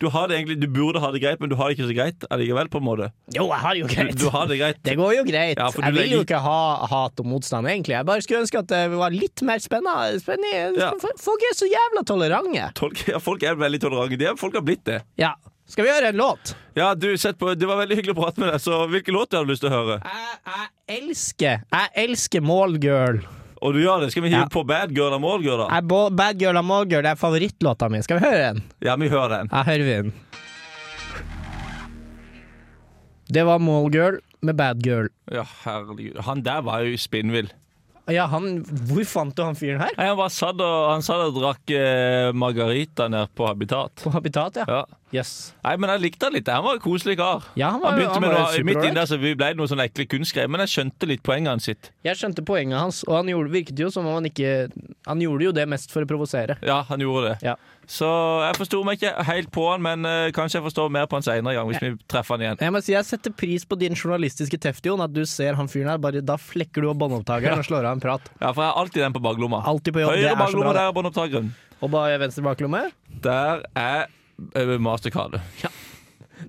Speaker 3: Du, har det egentlig, du burde ha det greit, men du har det ikke så greit allikevel, på en måte.
Speaker 1: Jo, jeg har det jo
Speaker 3: Du,
Speaker 1: greit.
Speaker 3: du har det greit.
Speaker 1: Det går jo greit.
Speaker 3: Ja, for du
Speaker 1: jeg vil jo
Speaker 3: legger-
Speaker 1: ikke ha hat og motstand, egentlig. Jeg bare skulle ønske at det var litt mer spennende. spennende.
Speaker 3: Ja.
Speaker 1: F- Folk er så jævla tolerante.
Speaker 3: Folk, ja, folk er veldig tolerante. De er- Folk har blitt det.
Speaker 1: Ja. Skal vi høre en låt?
Speaker 3: Ja, du, sett på, Det var veldig hyggelig å prate med deg, så hvilken låt har du lyst til å høre?
Speaker 1: Jeg, jeg elsker Jeg elsker Mallgirl.
Speaker 3: Og du gjør det. Skal vi hive
Speaker 1: Ja.
Speaker 3: på Bad Girl av Målgirl, da?
Speaker 1: Jeg bo- Bad Girl av Mallgirl er favorittlåta mi. Skal vi høre den?
Speaker 3: Ja, vi hører den.
Speaker 1: Ja, hører vi den. Det var Mallgirl med Bad Girl.
Speaker 3: Ja, herregud. Han der var jo spinnvill.
Speaker 1: Ja, han, hvor fant du han fyren her?
Speaker 3: Nei, Han bare satt og, han satt og drakk eh, margarita nede på Habitat.
Speaker 1: På Habitat, ja.
Speaker 3: Ja.
Speaker 1: Yes.
Speaker 3: Nei, men jeg likte han litt. Han var en koselig kar.
Speaker 1: Ja, han var-
Speaker 3: han begynte
Speaker 1: han
Speaker 3: med
Speaker 1: var
Speaker 3: noe, Midt
Speaker 1: superålreit.
Speaker 3: inne der så vi ble noe sånn ekle kunstgreier, men jeg skjønte litt poenget hans sitt.
Speaker 1: Jeg skjønte poenget hans, og han gjorde, virket jo som om han ikke Han gjorde jo det mest for å provosere.
Speaker 3: Ja, han gjorde det.
Speaker 1: Ja.
Speaker 3: Så jeg forsto meg ikke helt på han, men eh, kanskje jeg forstår mer på han seinere gang, hvis vi treffer han igjen.
Speaker 1: Jeg må si, jeg setter pris på din journalistiske teft, Jon. At du ser han fyren her, bare da flekker du av båndopptakeren og slår av en prat.
Speaker 3: Ja, For jeg har alltid den på baklomma.
Speaker 1: Alltid på jobb, det
Speaker 3: Høyre
Speaker 1: er så bra,
Speaker 3: baklomme,
Speaker 1: det.
Speaker 3: der er båndopptakeren.
Speaker 1: Og bare venstre baklomme.
Speaker 3: Der er eh, mastercardet.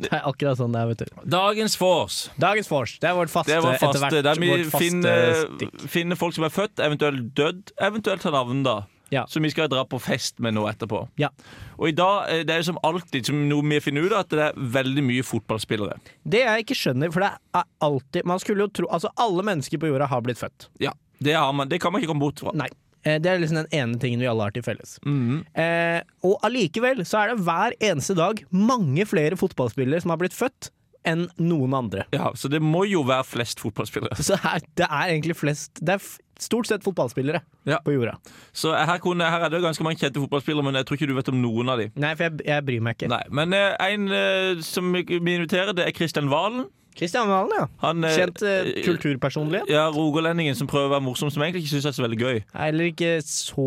Speaker 1: Det er akkurat sånn det er, vet du.
Speaker 3: Dagens vors.
Speaker 1: Dagens vors, det er vårt faste
Speaker 3: Det var
Speaker 1: etter
Speaker 3: faste.
Speaker 1: hvert.
Speaker 3: Der vi
Speaker 1: vårt faste
Speaker 3: finner,
Speaker 1: stikk.
Speaker 3: finner folk som er født, eventuelt dødd, eventuelt har navn, da.
Speaker 1: Ja.
Speaker 3: Som vi skal dra på fest med nå etterpå.
Speaker 1: Ja.
Speaker 3: Og i dag eh, det er som alltid som noe vi finner ut av, at det er veldig mye fotballspillere.
Speaker 1: Det jeg ikke skjønner, for det er alltid Man skulle jo tro Altså, alle mennesker på jorda har blitt født.
Speaker 3: Ja, Det, har man, det kan man ikke komme bort fra.
Speaker 1: Nei. Eh, Det er liksom den ene tingen vi alle har til felles.
Speaker 3: Mhm.
Speaker 1: eh, og allikevel så er det hver eneste dag mange flere fotballspillere som har blitt født, enn noen andre.
Speaker 3: Ja, Så det må jo være flest fotballspillere.
Speaker 1: Så her, det er egentlig flest Det er f stort sett fotballspillere
Speaker 3: Ja.
Speaker 1: på jorda.
Speaker 3: Så her, kunne, her er det jo ganske mange kjente fotballspillere, men jeg tror ikke du vet om noen av dem.
Speaker 1: Nei, for jeg, jeg bryr meg ikke.
Speaker 3: Nei, Men eh, en eh, som vi vi inviterer, det er Kristian Valen.
Speaker 1: Kristian Valen, ja.
Speaker 3: Han, eh,
Speaker 1: Kjent eh,
Speaker 3: eh,
Speaker 1: kulturpersonlighet.
Speaker 3: Ja, Rogalendingen som prøver å være morsom, som jeg egentlig ikke syns er så veldig gøy.
Speaker 1: Eller ikke så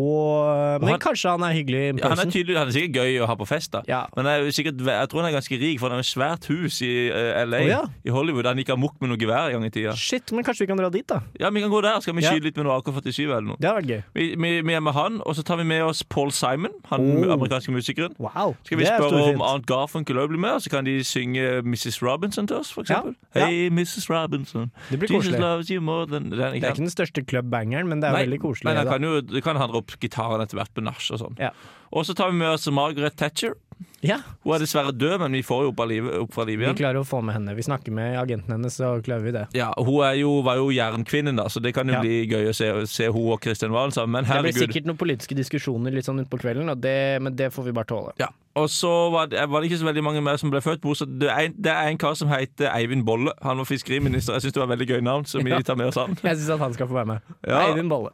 Speaker 1: Men
Speaker 3: han-
Speaker 1: kanskje han er hyggelig in
Speaker 3: Ja, han, er
Speaker 1: person.
Speaker 3: tydelig, han er sikkert gøy å ha på fest, da.
Speaker 1: Ja.
Speaker 3: Men jeg, er jo sikkert, ve- jeg tror han er ganske rik, for han har et svært hus i eh, LA,
Speaker 1: Å, ja.
Speaker 3: i Hollywood. Han gikk amok med noe gevær en gang i tida.
Speaker 1: Shit, men kanskje vi kan dra dit, da.
Speaker 3: Ja, vi kan gå der. Skal vi
Speaker 1: Ja.
Speaker 3: skyte litt med noe AK-47 eller noe?
Speaker 1: Det hadde vært gøy.
Speaker 3: Vi, vi, vi er med han, og så tar vi med oss Paul Simon, han
Speaker 1: Oh.
Speaker 3: amerikanske musikeren.
Speaker 1: Wow.
Speaker 3: Skal vi
Speaker 1: det er
Speaker 3: spørre om
Speaker 1: storfint.
Speaker 3: Aunt Garfunkel òg blir med, og så kan de synge Mrs. Robinson til oss, for
Speaker 1: Ja.
Speaker 3: eksempel?
Speaker 1: Ja.
Speaker 3: Hey, Mrs. Robinson,
Speaker 1: Det blir
Speaker 3: Jesus
Speaker 1: koselig.
Speaker 3: loves you more than den,
Speaker 1: Det er ikke den største clubbangeren, men det er veldig koselig.
Speaker 3: Men han
Speaker 1: da.
Speaker 3: kan jo det kan han dra opp gitaren etter hvert på nach og sånn.
Speaker 1: Ja.
Speaker 3: Og så tar vi med oss Margaret Thatcher.
Speaker 1: Ja,
Speaker 3: Hun er dessverre død, men vi får jo opp, av livet, opp fra livet
Speaker 1: Vi
Speaker 3: igjen.
Speaker 1: klarer å få med henne. Vi snakker med agenten hennes, så klarer vi det.
Speaker 3: Ja, Hun er jo, var jo jernkvinnen, da, så det kan jo
Speaker 1: Ja.
Speaker 3: bli gøy å se, se hun og Kristian Valen sammen. Men
Speaker 1: Det blir
Speaker 3: herregud.
Speaker 1: sikkert noen politiske diskusjoner litt sånn utpå kvelden, og det, men det får vi bare tåle.
Speaker 3: Ja. Og så var det, var det ikke så veldig mange mer som ble født. bortsett- Det er, en- det er en kar som heter Eivind Bolle. Han var fiskeriminister. Jeg syns det var et veldig gøy navn, så vi tar med oss han.
Speaker 1: Jeg syns at han skal få være med.
Speaker 3: Ja.
Speaker 1: Eivind Bolle.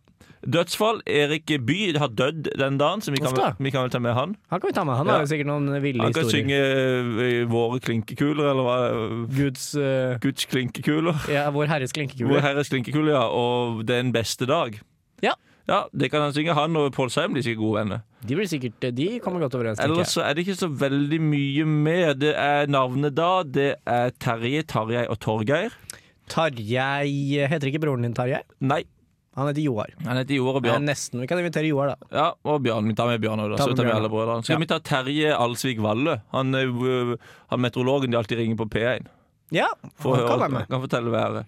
Speaker 3: Dødsfall. Erik By har dødd den dagen, så vi kan,
Speaker 1: Uff da.
Speaker 3: vi kan vel ta med han.
Speaker 1: Han kan vi ta med. Han
Speaker 3: Ja.
Speaker 1: har jo sikkert noen ville
Speaker 3: Han kan
Speaker 1: historier.
Speaker 3: synge eh, 'Våre klinkekuler', eller hva?
Speaker 1: Guds eh,
Speaker 3: Guds klinkekuler.
Speaker 1: Ja, Vår Herres
Speaker 3: Vår
Speaker 1: klinkekule.
Speaker 3: Herres klinkekule, ja. Og Den beste dag.
Speaker 1: Ja.
Speaker 3: Ja, Det kan han synge. Han og Pål Seim blir sikkert gode venner.
Speaker 1: De blir sikkert eh, De kommer godt overens. tenker
Speaker 3: Ellers
Speaker 1: jeg.
Speaker 3: så er det ikke så veldig mye mer. Det er navnet da. Det er Terje, Tarjei og Torgeir.
Speaker 1: Tarjei eh, Heter ikke broren din Tarjei?
Speaker 3: Nei,
Speaker 1: Han heter Joar.
Speaker 3: han heter Joar og
Speaker 1: Ja.
Speaker 3: Bjørn.
Speaker 1: Nesten. Vi kan invitere Joar, da.
Speaker 3: Ja, og Bjørn. Vi tar med Bjørn også, da.
Speaker 1: Ta
Speaker 3: Så
Speaker 1: med
Speaker 3: tar vi
Speaker 1: Bjørn.
Speaker 3: alle brødrene. Skal
Speaker 1: Ja.
Speaker 3: vi ta Terje Alsvik Valle? Han, er jo, øh, han meteorologen de alltid ringer på P1.
Speaker 1: Ja,
Speaker 3: For
Speaker 1: han
Speaker 3: å
Speaker 1: kan
Speaker 3: høre,
Speaker 1: være med.
Speaker 3: han kan fortelle været.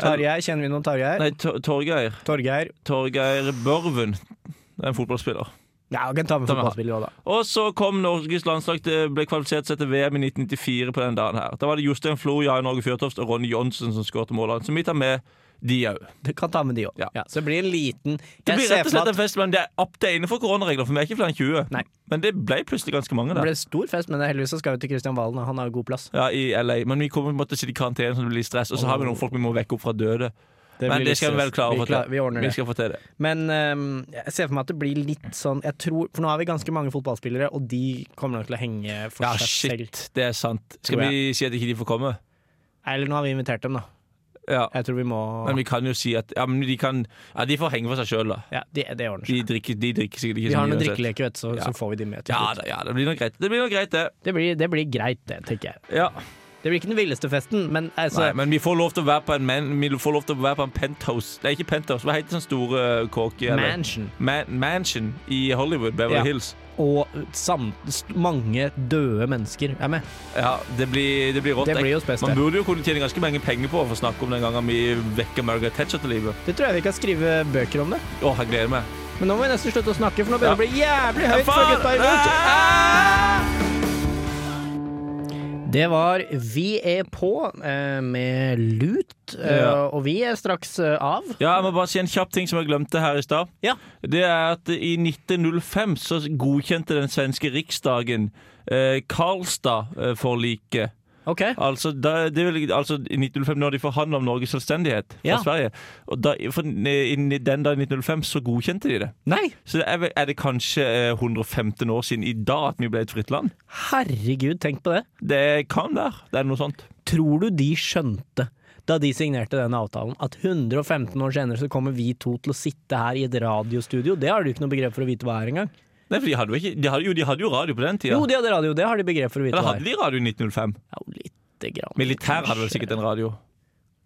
Speaker 1: Tarjei, kjenner vi noen Tarjei?
Speaker 3: Nei, Tor- Torgeir.
Speaker 1: Torgeir.
Speaker 3: Torgeir Børven. Det er en fotballspiller.
Speaker 1: Ja, vi kan ta med
Speaker 3: Ta med han.
Speaker 1: fotballspillet òg, da.
Speaker 3: Og så kom Norges landslag til ble kvalifisert seg til VM i 1994 på den dagen her. Da var det Jostein Flo, Jan Åge Fjørtoft og Ronny Johnsen som skåret målene. Så vi tar med de òg.
Speaker 1: Du kan ta med de òg.
Speaker 3: Ja.
Speaker 1: Ja. så det blir en liten
Speaker 3: Det
Speaker 1: Jeg
Speaker 3: blir
Speaker 1: ser
Speaker 3: rett og
Speaker 1: for
Speaker 3: slett
Speaker 1: meg
Speaker 3: en fest, men det er, opp, det er innenfor koronaregler, for vi er ikke flere enn 20.
Speaker 1: Nei.
Speaker 3: Men det ble plutselig ganske mange
Speaker 1: Det
Speaker 3: der.
Speaker 1: ble stor fest, men heldigvis så skal vi til Kristian Valen, og han har jo god plass.
Speaker 3: Ja, i LA. Men vi kommer på en måte til å sitte i karantene, så det blir stress. Og så har vi noen folk vi må vekke opp fra døde. men
Speaker 1: blir
Speaker 3: det skal
Speaker 1: litt
Speaker 3: vi vel
Speaker 1: stress.
Speaker 3: klare å
Speaker 1: Vi
Speaker 3: få til.
Speaker 1: klar- Vi ordner
Speaker 3: Vi
Speaker 1: det.
Speaker 3: skal få til det.
Speaker 1: Men ehm, jeg ser for meg at det blir litt sånn jeg tror, For nå har vi ganske mange fotballspillere, og de kommer nok til å henge for
Speaker 3: Ja,
Speaker 1: seg selv.
Speaker 3: shit. Det er sant. Skal
Speaker 1: Tror
Speaker 3: vi si at ikke de får komme?
Speaker 1: Eller nå har vi invitert dem, da.
Speaker 3: Ja.
Speaker 1: Jeg tror vi må
Speaker 3: Men vi kan jo si at Ja, men de kan Ja, de får henge for seg sjøl, da.
Speaker 1: ja, Det, det ordner seg.
Speaker 3: De drikker, de drikker sikkert ikke
Speaker 1: Vi
Speaker 3: så
Speaker 1: har
Speaker 3: mye
Speaker 1: noen
Speaker 3: uansett.
Speaker 1: drikkeleker, vet du, så,
Speaker 3: Ja.
Speaker 1: så får vi de med. til
Speaker 3: Ja,
Speaker 1: slutt.
Speaker 3: da, ja, det blir nok greit, det. blir nok greit det.
Speaker 1: Det, blir, det blir greit, det, tenker jeg.
Speaker 3: Ja.
Speaker 1: Det blir ikke den villeste festen, men altså
Speaker 3: Nei, men vi får lov til å være på en men, Vi får lov til å være på en penthouse Nei, ikke penthouse, hva heter sånn store eh, kåke? eller-
Speaker 1: Mansion
Speaker 3: Man mansion i Hollywood, Beverly
Speaker 1: Ja.
Speaker 3: Hills.
Speaker 1: og sam, st- mange døde mennesker er med.
Speaker 3: Ja, det blir, det blir rått.
Speaker 1: Det blir jo spes,
Speaker 3: Man
Speaker 1: det.
Speaker 3: burde jo kunne tjene ganske mange penger på for å snakke om den gangen vi vekker Margaret Thatcher til livet.
Speaker 1: Det tror jeg vi kan skrive bøker om det.
Speaker 3: Åh, jeg gleder meg.
Speaker 1: Men nå må vi nesten slutte å snakke, for nå begynner det å bli jævlig høyt for
Speaker 3: Faen!
Speaker 1: gutta i Munch.
Speaker 3: Ah!
Speaker 1: Det var Vi er på eh, med Lut, eh,
Speaker 3: Ja.
Speaker 1: og vi er straks eh, av.
Speaker 3: Ja, jeg må bare si en kjapp ting som jeg glemte her i stad.
Speaker 1: Ja.
Speaker 3: Det er at i 1905 så godkjente den svenske riksdagen eh, Karlstad-forliket.
Speaker 1: Ok.
Speaker 3: Altså, da, det vil, altså i 1905 når de forhandla om Norges selvstendighet fra
Speaker 1: Ja.
Speaker 3: Sverige. Og da, for, i, den dag i 1905 så godkjente de det.
Speaker 1: Nei,
Speaker 3: Så det er, vel- er det kanskje eh, 115 år siden i dag at vi ble et fritt land?
Speaker 1: herregud, tenk på det.
Speaker 3: Det kan være. Det er noe sånt.
Speaker 1: Tror du de skjønte da de signerte den avtalen, at 115 år senere så kommer vi to til å sitte her i et radiostudio? Det har du ikke noe begrep for å vite hva er engang.
Speaker 3: Nei, for de hadde jo, ikke, de hadde, jo, de hadde jo radio på den tida.
Speaker 1: Jo, de hadde radio, det har de begrep for å vite
Speaker 3: Eller
Speaker 1: hva
Speaker 3: hadde
Speaker 1: er.
Speaker 3: de radio i 1905?
Speaker 1: Ja, lite grann.
Speaker 3: Militær hadde
Speaker 1: Kanskje.
Speaker 3: vel sikkert en radio.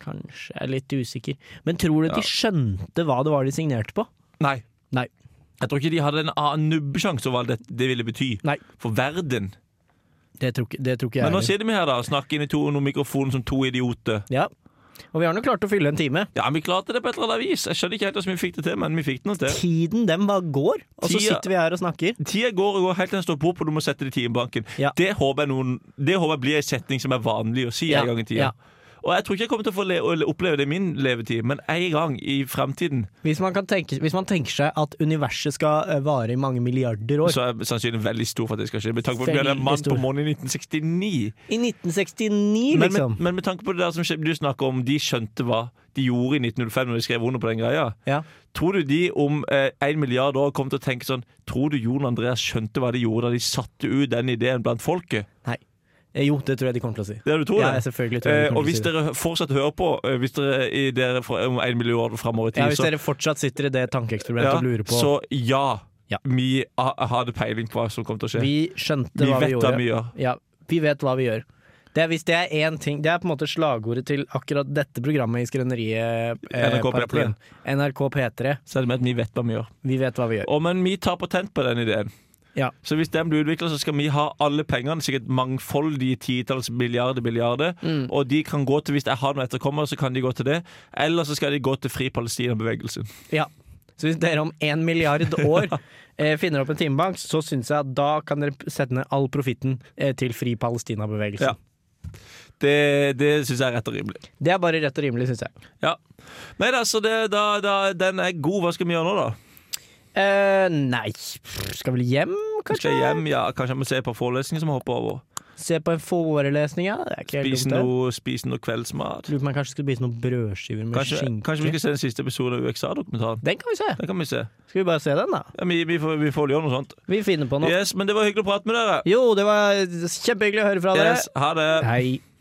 Speaker 1: Kanskje, jeg er litt usikker. Men tror du de skjønte hva det var de signerte på?
Speaker 3: Nei.
Speaker 1: Nei.
Speaker 3: Jeg tror ikke de hadde en annen nubbesjanse over hva det, det ville bety
Speaker 1: Nei.
Speaker 3: for verden.
Speaker 1: Det tror ikke, det tror ikke jeg.
Speaker 3: Men nå
Speaker 1: heller.
Speaker 3: sitter vi her da og snakker inn i to noen mikrofoner som to idioter.
Speaker 1: Ja. Og vi har nå klart å fylle en time.
Speaker 3: Ja, Vi klarte det på et eller annet vis. Jeg skjønner ikke helt hvordan vi fikk det til, men vi fikk det nå til.
Speaker 1: Tiden den bare går, og så
Speaker 3: Tida-
Speaker 1: sitter vi her og snakker.
Speaker 3: Tida går og går helt til den står på, og du må sette det i timebanken.
Speaker 1: Ja.
Speaker 3: Det, håper jeg noen, det håper jeg blir en setning som er vanlig å si
Speaker 1: Ja,
Speaker 3: en gang i
Speaker 1: ja.
Speaker 3: tida. Og jeg tror ikke jeg kommer til å få le å oppleve det i min levetid, men en gang i fremtiden
Speaker 1: Hvis man, kan tenke, hvis man tenker seg at universet skal eh, vare i mange milliarder år
Speaker 3: så er jeg sannsynligheten veldig stor for at det skal skje. Med tanke på at vi hadde en
Speaker 1: Veldig
Speaker 3: mann på
Speaker 1: stor.
Speaker 3: månen i 1969.
Speaker 1: I 1969,
Speaker 3: Men,
Speaker 1: liksom.
Speaker 3: med, men med tanke på det der som skje- du snakker om, de skjønte hva de gjorde i 1905 når de skrev under på den greia.
Speaker 1: ja.
Speaker 3: Tror du de om eh, en milliard år kommer til å tenke sånn Tror du Jon Andreas skjønte hva de gjorde da de satte ut den ideen blant folket?
Speaker 1: Nei. Eh, Jo, det tror jeg de kommer til å si.
Speaker 3: Det er du tror
Speaker 1: Ja,
Speaker 3: det?
Speaker 1: jeg selvfølgelig tror jeg de
Speaker 3: Eh,
Speaker 1: kommer til å
Speaker 3: og hvis
Speaker 1: si det.
Speaker 3: dere fortsatt hører på, eh, hvis dere, i dere fra, om en milliard år framover i tid,
Speaker 1: Ja, hvis dere fortsatt sitter i det
Speaker 3: så,
Speaker 1: tankeeksperimentet
Speaker 3: ja,
Speaker 1: og lurer på
Speaker 3: så ja,
Speaker 1: Ja.
Speaker 3: Vi ha- hadde peiling på hva som kom til å skje.
Speaker 1: Vi skjønte
Speaker 3: Vi
Speaker 1: hva vi
Speaker 3: vet
Speaker 1: gjorde.
Speaker 3: hva vi gjør.
Speaker 1: Ja, vi vet hva vi gjør. Det er, hvis det er én ting Det er på en måte slagordet til akkurat dette programmet i Skrøneriet.
Speaker 3: NRK P3.
Speaker 1: Patruljen. NRK P3.
Speaker 3: Så er det med at vi vet hva vi gjør.
Speaker 1: Vi vet hva vi gjør.
Speaker 3: Og, men vi tar patent på den ideen.
Speaker 1: Ja.
Speaker 3: Så hvis den blir utvikla, så skal vi ha alle pengene, sikkert mangfoldige titalls milliarder milliarder,
Speaker 1: Mm.
Speaker 3: og de kan gå til, hvis jeg har noen etterkommere, så kan de gå til det. Eller så skal de gå til Fri Palestina-bevegelsen.
Speaker 1: Ja. Så hvis dere om én milliard år eh, finner opp en timebank, så syns jeg at da kan dere p- sette ned all profitten eh, til Fri Palestina-bevegelsen.
Speaker 3: Ja. Det, det syns jeg er rett og rimelig.
Speaker 1: Det er bare rett og rimelig, syns jeg.
Speaker 3: Ja. Nei da, så det, da, da, den er god. Hva skal vi gjøre nå, da?
Speaker 1: Eh, nei, skal vel hjem, kanskje?
Speaker 3: Skal jeg hjem? Ja, kanskje jeg må se på forelesninger som jeg hopper over.
Speaker 1: Se på en forelesning, ja. Det er ikke helt
Speaker 3: Spise
Speaker 1: dumt, det.
Speaker 3: noe, spise noe kveldsmat.
Speaker 1: Lurer på om jeg kanskje skulle spise noen brødskiver med
Speaker 3: Kanskje,
Speaker 1: skinke.
Speaker 3: kanskje vi skal se den siste episoden av UXA-dokumentaren.
Speaker 1: Den kan vi se.
Speaker 3: Den kan vi se.
Speaker 1: Skal vi bare se den, da?
Speaker 3: Ja, vi, vi, får, vi får gjøre noe sånt.
Speaker 1: Vi finner på noe.
Speaker 3: Yes, Men det var hyggelig å prate med dere.
Speaker 1: Jo, det var kjempehyggelig å høre fra dere.
Speaker 3: Yes, ha det.
Speaker 1: Hei.